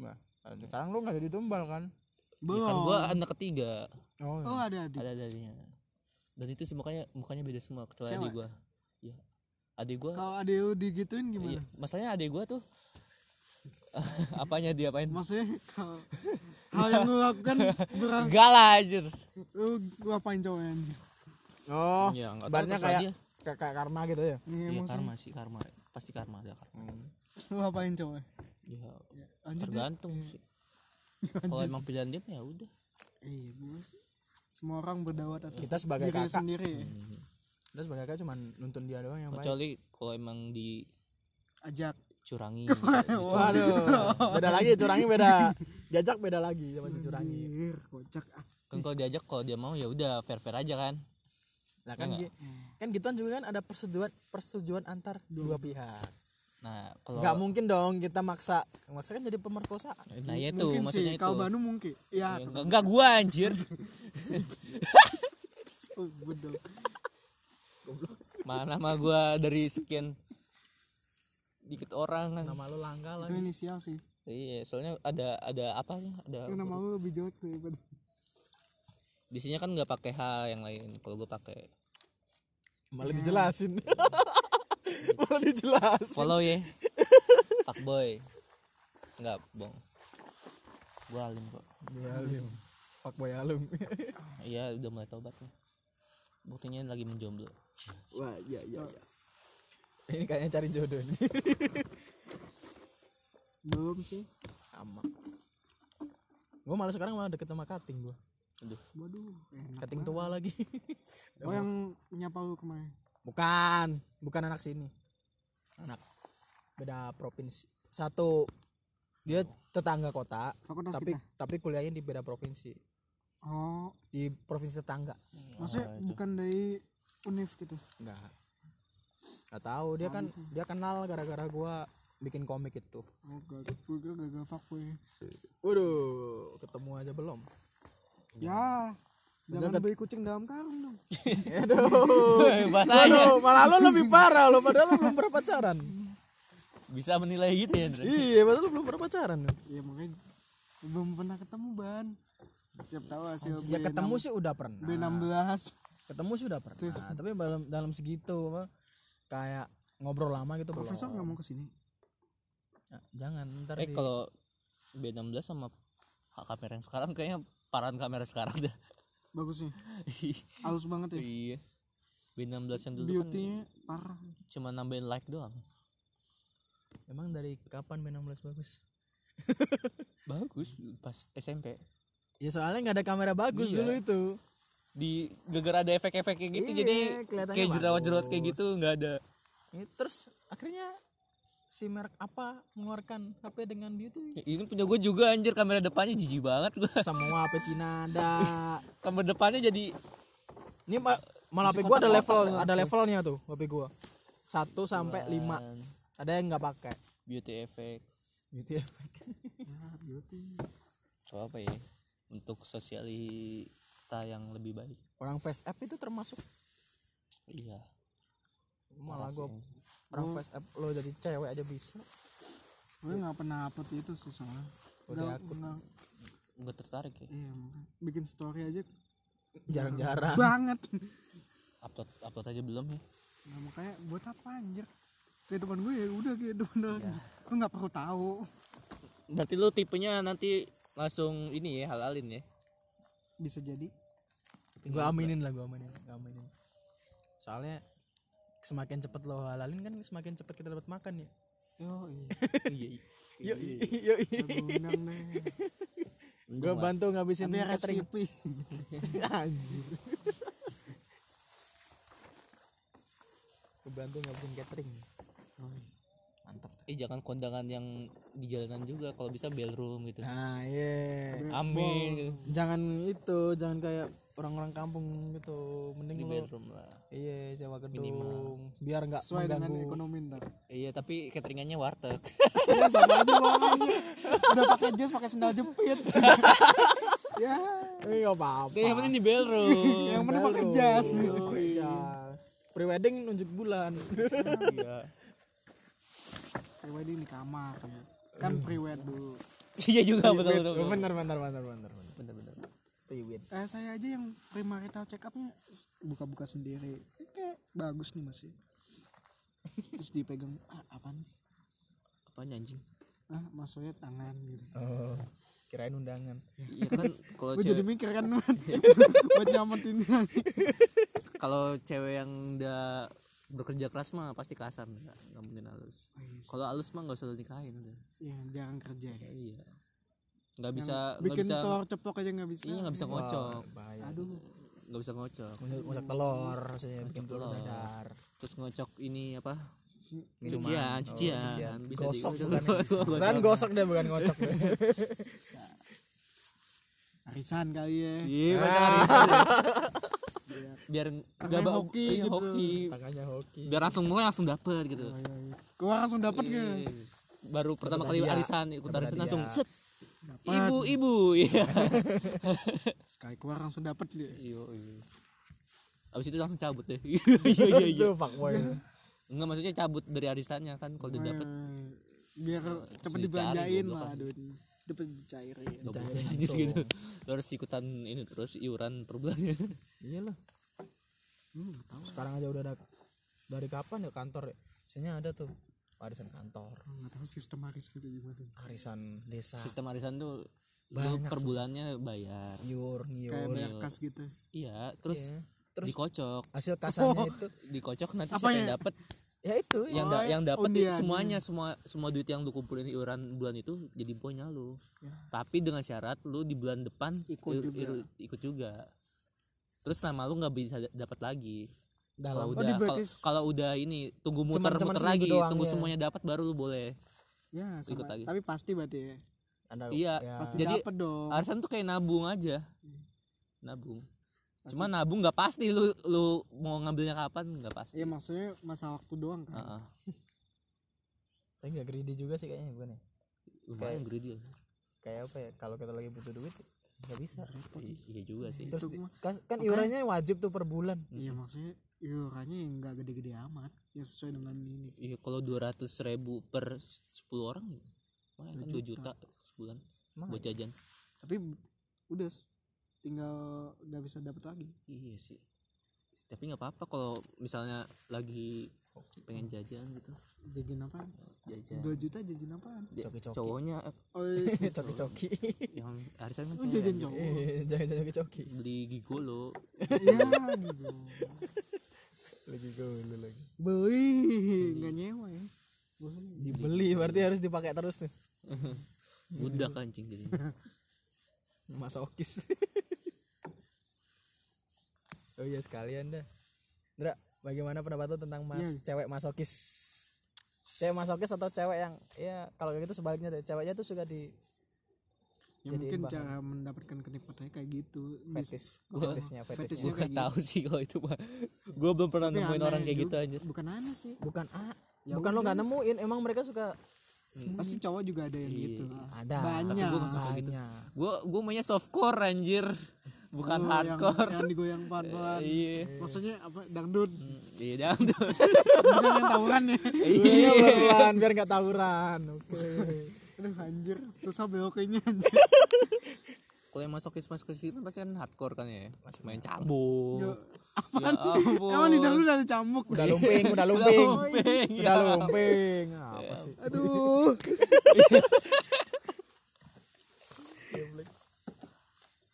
Nah, eh, sekarang lu enggak jadi tumbal kan? Ya kan belum gua anak ketiga iya. Oh, oh ada adik ada adanya dan itu sih mukanya mukanya beda semua kecuali adik gua ya adik gua kalau ada lu digituin gimana iya. masalahnya adik gua tuh apanya dia apain maksudnya kalau hal yang lu lakukan berang enggak lah anjir lu gua apain cowok anjir Oh. ya enggak Barnya kayak kayak kayak karma gitu ya. Nih, ya, emang karma sih karma pasti karma ada karma lu apain cowok ya anjir dia tergantung sih kalau emang pilihan dia mah ya udah iya gua sih semua orang berdawat atas Kita sebagai diri kakak. sendiri ya. terus sebagai kakak cuman nuntun dia doang yang baik. kecuali kalau emang dicurangi ajak gitu. [laughs] Waduh. Beda lagi curangi beda. Diajak beda lagi sama Hmm. si curangi. anjir kocak ah kan kalau diajak kalau dia mau ya udah fair fair aja kan Nah kan gi- kan gituan juga kan ada persetujuan persetujuan antar dua pihak. Nah, kalau Gak mungkin dong kita maksa. Maksa kan jadi pemerkosaan. nah ya itu mungkin sih maksudnya itu. Iya, kalau Banu mungkin ya Enggak gua anjir. Oh, betul Mana mah gua dari sekian dikit orang kan. Malu langka lah. itu inisial sih Iya, soalnya ada ada apa sih? Ada karena nama lu lebih jelek sih daripada biasanya kan nggak pakai H yang lain. Kalau gua pakai Malah dijelasin. [laughs] Malah dijelasin. follow ya. Pak boy. Enggak, bohong. Gua alim kok. Boyalum. Pak Boyalum. Iya, udah mulai tobat nih. Buktinya lagi menjomblo. wah ya ya ya [laughs] Ini kayaknya cari jodoh ini. [laughs] belum sih Sama. Gue malah sekarang malah deket sama kating gue. Aduh. waduh enak Kating tua lagi. [laughs] oh yang nyapa lu kemarin bukan, bukan anak sini. Anak beda provinsi. Satu dia tetangga kota, Fakultas tapi kita. tapi kuliahnya di beda provinsi. oh Di provinsi tetangga. maksudnya bukan dari univ gitu Enggak. Enggak tahu, dia kan dia kenal gara-gara gua bikin komik itu. oh gagal gagal gagal fuckboy Waduh, ketemu aja belum. ya jangan beli kucing dalam karung dong Eh, Bahasanya Aduh, malah lo lebih parah lo padahal lo belum pernah pacaran. bisa menilai gitu ya, Dre. iya, padahal lo belum pernah pacaran. lo. ya makanya belum pernah ketemu ban siap tahu hasil Ya ketemu Nah. sih udah pernah. B16 Ketemu sih udah pernah, tapi dalam dalam segitu apa, kayak ngobrol lama gitu belum. profesor nggak mau kesini Nah, jangan ntar Eh di- kalau B16 sama ha- kamera yang sekarang kayaknya parahan kamera sekarang dah. bagusnya [laughs] halus banget ya iya. B16 yang dulu kan beautynya parah cuma nambahin like doang. Emang dari kapan B16 bagus? Bagus pas SMP. Ya soalnya nggak ada kamera bagus dulu itu. Di gara-gara ada efek-efek kayak Iya, gitu jadi kayak jerawat-jerawat kayak gitu nggak ada. Ya, terus akhirnya si merek apa mengeluarkan HP dengan beauty Ya, ini punya gue juga anjir kamera depannya jijik banget gue. semua HP Cina ada [laughs] Kamera depannya jadi ini ma- malah HP gua ada level ada levelnya tuh HP gua satu sampai lima ada yang nggak pakai beauty effect beauty effect atau apa ya? Untuk sosialita yang lebih baik. [laughs] orang face app itu termasuk Iya. malah gua orang face app lo jadi cewek aja bisa gue nggak pernah upload itu sih soalnya Udah Nggak- nggak- Gue tertarik ya. iya, makanya. bikin story aja [laughs] jarang-jarang banget Upload upload aja belum ya? nah, makanya buat apa anjir kehidupan gue ya udah kehidupan orang Iya. lu nggak perlu tahu Berarti lu tipenya nanti langsung ini ya halalin ya. bisa jadi gua aminin lah gua aminin gua aminin soalnya semakin cepet lo halalin kan semakin cepet kita dapat makan ya yo iya [laughs] Iya. [laughs] yuk yuk gue undang [laughs] deh gua bantu ngabisin biar catering SVP Anjir. Kebantu ngabisin catering. Mantap. Eh jangan kondangan yang di jalanan juga kalau bisa bellroom gitu. Nah, iya. Amin. Jangan itu, jangan kayak orang-orang kampung gitu. Mending lu Bellroom lah. iya sewa gedung biar nggak sesuai dengan mengganggu. ekonomi ntar Iya tapi cateringannya [laughs] warteg. ya sama aja bohongnya udah pakai jas pakai sendal jepit [laughs] ya Eh, nggak apa-apa. Kayak Iya, yang penting di bellroom. yang penting pakai jas gitu. Jas. Iya, Prewedding nunjuk bulan. Iya. prewedding di kamar kan prewed dulu [laughs] Iya juga betul betul. betul. bener, bener, bener, bener, bener. Bener bener. Prewed. eh saya aja yang primarital check upnya s- buka-buka sendiri Eh, kayak bagus nih masih terus dipegang ah apaan nih? Apaan anjing? ah maksudnya tangan gitu Oh, kirain undangan. Iya kan kalau gue jadi cewek, Iya. mikir kan [laughs] Man. buat nyamatin kan. kalau cewek yang udah bekerja keras mah pasti kasar nggak nggak mungkin halus. Kalau halus mah nggak usah lu nikahin udah. ya jarang kerja ya Iya. Nggak bisa nggak bikin bisa telur ceplok aja nggak bisa iya nggak bisa ngocok. Bahaya. aduh Nggak bisa ngocok. Masak telur, sih, bikin telur dadar. terus ngocok ini apa Minuman. cucian Oh, cucian, cucian. bisa [laughs] Gosok di- bukan [laughs] Gosok. Kan gosok deh bukan ngocok. arisan kali ya Iya, gua Ah. cari. [laughs] biar nggak Tangannya bau hoki iya, gitu. hoki. tangannya hoki biar langsung mulai langsung dapet gitu gua langsung dapet gak Iya. baru pertama kali arisan ikut arisan langsung set Dapat. ibu ibu iya sekali keluar langsung dapet dia [laughs] Iya, iya. Abis itu langsung cabut deh. [laughs] Iya, iya, iya. Itu fuckboy. Enggak maksudnya cabut dari arisannya kan kalau udah dapet Eh, biar cepet dicari, dibelanjain goblok lah aja. duitnya cepet dicairin nggak boleh lanjut [laughs] gitu. Lo harus ikutan ini terus iuran per bulannya. Iyalah. Sekarang aja udah ada dari kapan ya kantor ya? Biasanya ada tuh arisan kantor, nggak tahu sistem Aris gitu gimana arisan desa, Sistem arisan Nah. tuh lo per bulannya bayar. iur, kayak ngiur. bayar kas gitu Iya, terus dikocok. Hasil kasanya itu Dikocok nanti siapa yang dapet ya itu yang da- yang Oh, dapet itu semuanya semua semua duit yang lu kumpulin iuran bulan itu jadi punya lu. Ya. Tapi dengan syarat lu di bulan depan ikut juga. ikut juga. Terus nama lu nggak bisa da- dapat lagi. Ya Kalau udah kalau- kalau udah ini tunggu Oh, cuman muter-muter seminggu lagi, doang, tunggu ya. semuanya dapat baru lu boleh. ya sama- Ikut lagi. tapi pasti berarti ya ada iya. ya, pasti Jadi, dapet dong Arisan tuh kayak nabung aja. Nabung. Cuma nabung nggak pasti lu lu mau ngambilnya kapan nggak pasti. Iya maksudnya masa waktu doang kan Heeh. tapi nggak greedy juga sih kayaknya gue nih Lumayan greedy. kayak apa ya kalau kita lagi butuh duit nggak bisa I- Iya juga sih. terus di- kan, kan iurannya wajib tuh per bulan [laughs] Iya maksudnya iurannya yang nggak gede-gede amat ya sesuai dengan ini Iya kalau 200 ribu per 10 orang Wah, 2 juta sebulan buat jajan. tapi b- udah s- tinggal nggak bisa dapet lagi Iya sih. Tapi nggak apa-apa kalau misalnya lagi pengen jajan gitu. jajan apa Jajan. dua juta jajan apaan Ja- Coki-coki. Cowoknya eh, [laughs] oh iya, coki-coki yang arisan kan lu cewek. jajan cowok [laughs] jangan-jangan coki-coki beli gigolo ya gitu lagi gue lagi beli nggak nyewa ya Bosan. dibeli berarti harus dipakai terus nih udah kan, kancing jadi [laughs] masokis [laughs] oh iya sekalian dah Ndra bagaimana pendapat lo tentang mas cewek masokis cewek masokis atau cewek yang ya kalau kayak gitu sebaliknya deh ceweknya tuh suka di ya mungkin cara mendapatkan kenikmatannya kayak gitu Bis- fetis fetisnya fetis gue gak tahu sih kalau itu mah gue belum pernah nemuin orang kayak gitu aja bukan aneh sih bukan ah bukan lo nggak nemuin emang mereka suka pasti cowok juga ada yang gitu ada banyak banyak gue gue mainnya softcore anjir bukan Oh, Yang- hardcore yang digoyang pelan-pelan iya maksudnya apa dangdut iya dangdut bukan yang tawuran ya iya pelan biar nggak tawuran oke aduh anjir susah beloknya anjir kalau yang masuk kismas itu pasti kan hardcore kan ya main cabul apaan Ya ampun. emang di dangdut ada camuk udah lumping udah lumping Iya. udah lumping apa sih aduh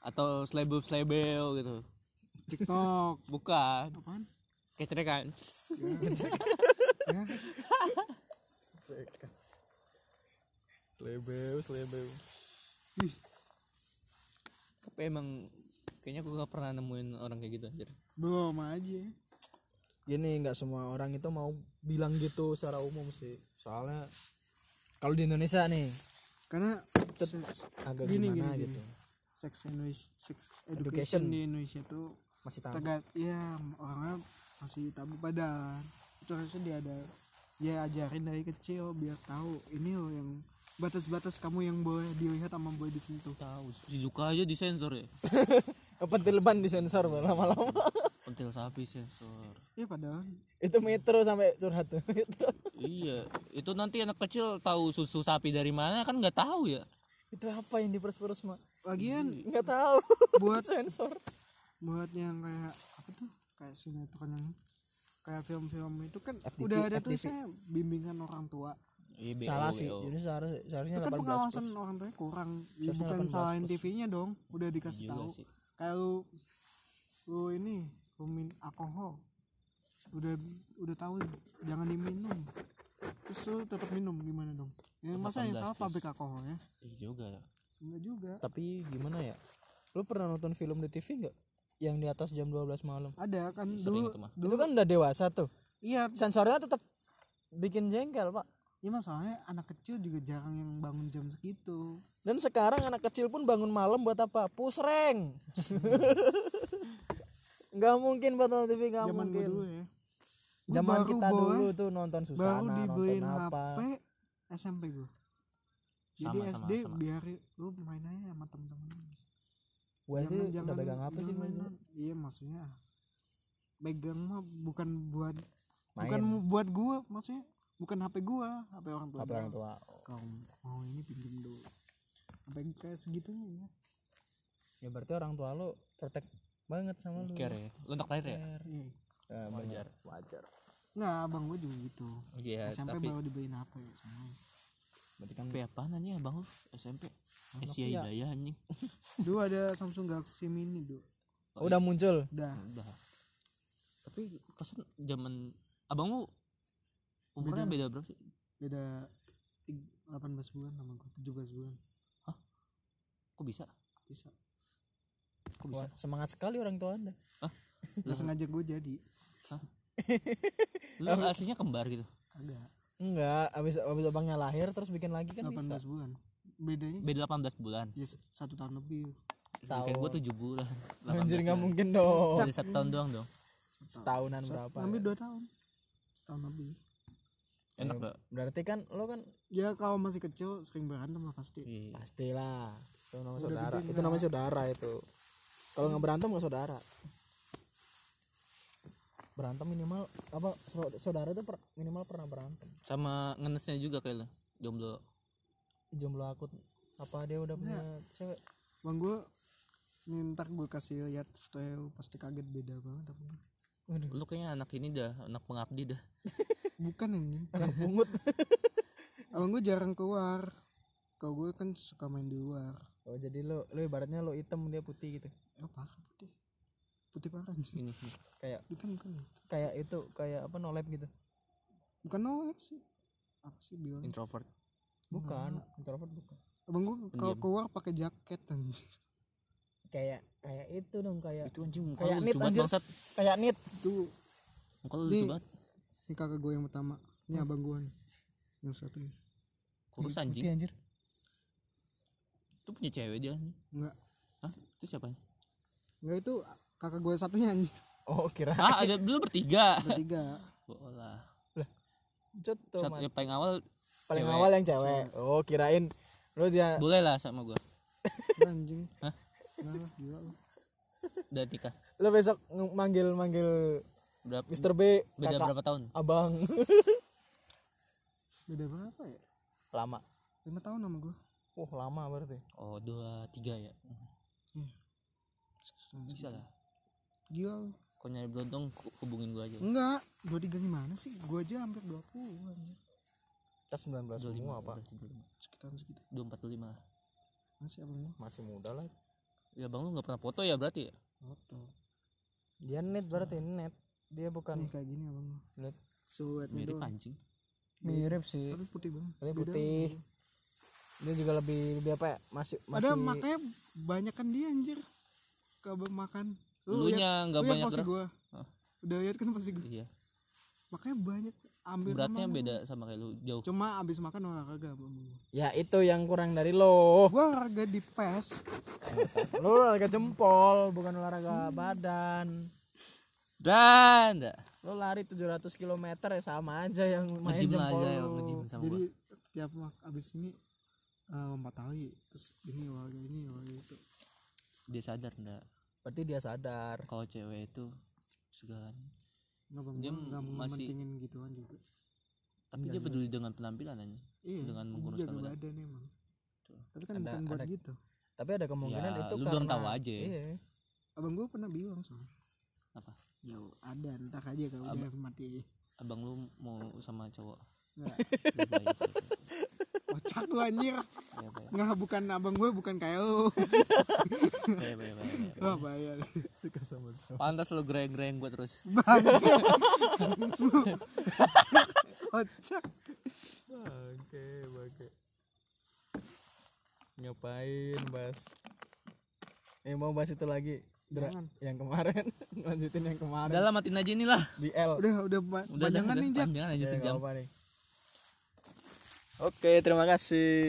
atau slebel slebel gitu tiktok bukan apaan kecrekan selebeu selebeu Wih, tapi emang kayaknya gue gak pernah nemuin orang kayak gitu anjir belum aja gini nggak semua orang itu mau bilang gitu secara umum sih soalnya kalau di Indonesia nih karena se- agak Gini, gimana gini, gitu sex, Indonesia, sex education, di Indonesia tuh masih tahu [laughs] tegak ya orangnya masih tabu badan itu harusnya dia ada dia ajarin dari kecil biar tahu ini loh yang batas-batas kamu yang boleh dilihat sama boleh disentuh tahu Shizuka aja disensor ya pentil ban disensor Bang, lama-lama [laughs] pentil sapi sensor ya padahal itu metro sampai curhat tuh metro [laughs] iya itu nanti anak kecil tahu susu sapi dari mana kan nggak tahu ya itu apa yang diperas-peras mah lagian nggak tahu [laughs] buat sensor buat yang kayak apa tuh kayak sinetron yang kayak film-film itu kan udah ada tulisnya bimbingan orang tua Iya, BO, salah sih BO. jadi seharusnya seharusnya kan 18 pengawasan orang tuanya kurang ya, bukan salahin TV-nya dong udah Iya dikasih tahu sih. kayak lu, lu ini lu min alkohol udah udah tahu jangan diminum terus lu tetap minum gimana dong ya, masa yang salah pabrik alkohol ya Iya juga ya enggak juga tapi gimana ya lu pernah nonton film di TV nggak yang di atas jam 12 malam ada kan dulu itu mah. itu kan udah dewasa tuh iya sensornya tetap bikin jengkel pak ya masalahnya anak kecil juga jarang yang bangun jam segitu dan sekarang anak kecil pun bangun malam buat apa pusreng [laughs] nggak mungkin Battle TV nggak zaman gue mungkin dulu ya Gua zaman baru kita bawa- dulu tuh nonton baru Susana nonton dibeliin apa HP SMP gue jadi Sama, sama, SD sama. biar lu main aja sama temen-temen gue sih udah pegang apa sih jangan- main iya maksudnya pegang mah bukan buat Main. bukan buat gua maksudnya bukan HP gua HP orang tua HP orang tua kau mau ini pinjem dulu sampai kayak segitunya ya ya berarti orang tua lu protek banget sama lu care ya lontak lahir ya Iya. Eh, wajar wajar nggak abang gua juga gitu Eh, iya SMP tapi baru dibeliin HP semua berarti kan SMP apa nanya abang lu SMP Iya. Asia Hidayah anjing dulu ada Samsung Galaxy Mini dulu Oh, udah muncul udah Nah, udah tapi pesan zaman abang lu umurnya beda berapa sih beda tig- 18 bulan sama gua 17 bulan kok bisa bisa kok bisa Wah, semangat sekali orang tua anda [laughs] nggak sengaja gua jadi lu Eh, aslinya kembar gitu kagak enggak abis abis abangnya lahir terus bikin lagi kan bisa 18 bulan bedanya beda 18 bulan ya s- satu tahun lebih Sedangkan gua 7 bulan 18 [laughs] anjir nggak mungkin dong Jadi satu tahun doang dong setahunan berapa hampir ya? dua tahun setahun lebih enak gak berarti kan lo kan ya kalau masih kecil sering berantem lah pasti Iya. pastilah itu namanya saudara itu namanya saudara itu kalau nggak berantem nggak saudara berantem minimal apa sau- saudara itu per- minimal pernah berantem sama ngenesnya juga kayak lu jomblo jomblo aku apa dia udah punya cewek bang gua nih ntar gua kasih lihat fotonya lu pasti kaget beda banget apa [laughs] lu kayaknya anak ini dah anak pengabdi dah bukan ini pungut [laughs] abang gua jarang keluar kalau gua kan suka main di luar oh jadi lo lo ibaratnya lo hitam dia putih gitu ya parah putih putih parah anjing. ini ini. kayak bukan bukan kayak itu kayak apa nolep gitu bukan no apps sih apa sih bilang introvert Iya. bukan introvert bukan abang gua kalau keluar pakai jaket anjir kayak kayak itu dong kayak itu anjing muka Kayak lu nit, lucu banget anjir. bangsat kayak nit [laughs] itu muka lu lucu Di- banget ini kakak gue yang pertama ini abang gue nih yang satu ini kurus putih anjing anjir itu punya cewek dia anjing. enggak Hah? itu siapa enggak itu kakak gue satunya anjing oh kira ah ada belum [laughs] bertiga bertiga bola Cetuh, satu yang paling awal paling awal yang cewek oh kirain lo dia boleh lah sama gua Enggak, anjing Hah? enggak lah gila lu udah nikah lo besok manggil manggil berapa Mr. B beda kakak berapa tahun abang [laughs] beda berapa ya lama lima tahun sama gue uh lama berarti oh dua tiga ya bisa lah gila lu kalau nyari beruntung ku- hubungin gua aja enggak dua tiga gimana sih gue aja hampir dua puluh anjing kita 19 semua apa sekitaran segitu dua empat puluh lima lah masih abang gue masih muda lah ya bang lu nggak pernah foto ya berarti ya foto dia net berarti net dia nih bukan kayak gini abang gue net Iya, siluetnya mirip doang anjing mirip sih tapi putih banget dia Beda. putih dia juga lebih lebih apa ya masih masih ada makanya banyak kan dia anjir ke abang makan lu lihat- nya nggak lu lihat banyak pasti gerak gue Hah. udah lihat kan pasti gue iya makanya banyak ambil beratnya sama- beda sama kayak lu jauh cuma abis makan olahraga sama gua. ya itu yang kurang dari lo [laughs] gua olahraga di pes lo olahraga jempol bukan Hmm. olahraga badan dan dah. lo lari 700 km ya sama aja yang main ngejim lah jempol aja ya lo. ngejim sama jadi gua tiap mak abis ini eh, lompat tali terus ini olahraga ini olahraga itu dia sadar ndak berarti dia sadar kalau cewek itu segalanya nggak bang Dia gua nggak masih- mementingin gituan juga tapi dia peduli dengan penampilan anjing iya dengan dia mengurus jaga rambut. badan emang tapi kan bukan buat gitu tapi ada kemungkinan Ya, itu lu karena belum tahu aja ya. iya. abang gua pernah bilang soalnya apa ya ada ntar aja kalau udah mati abang lu mau sama [laughs] cowok Nggak. Lebih baik. kocak lu anjir [laughs] Iya, Pak, ya. nggak bukan abang gue bukan kayak [laughs] lu Iya, Pak, ya, Pak, ya. wah bayar pantas lu greng-greng gua terus kocak Oke, oke. Ngapain, Bas? Eh mau bahas itu lagi. Dra, yang kemarin, [laughs] lanjutin yang kemarin udah lah matiin aja inilah di L. Eh, udah udah, ba- Oh. udah panjangan nih Eh, jak jangan Ya, aja nggak sejam apa-apa nih. Oke, terima kasih.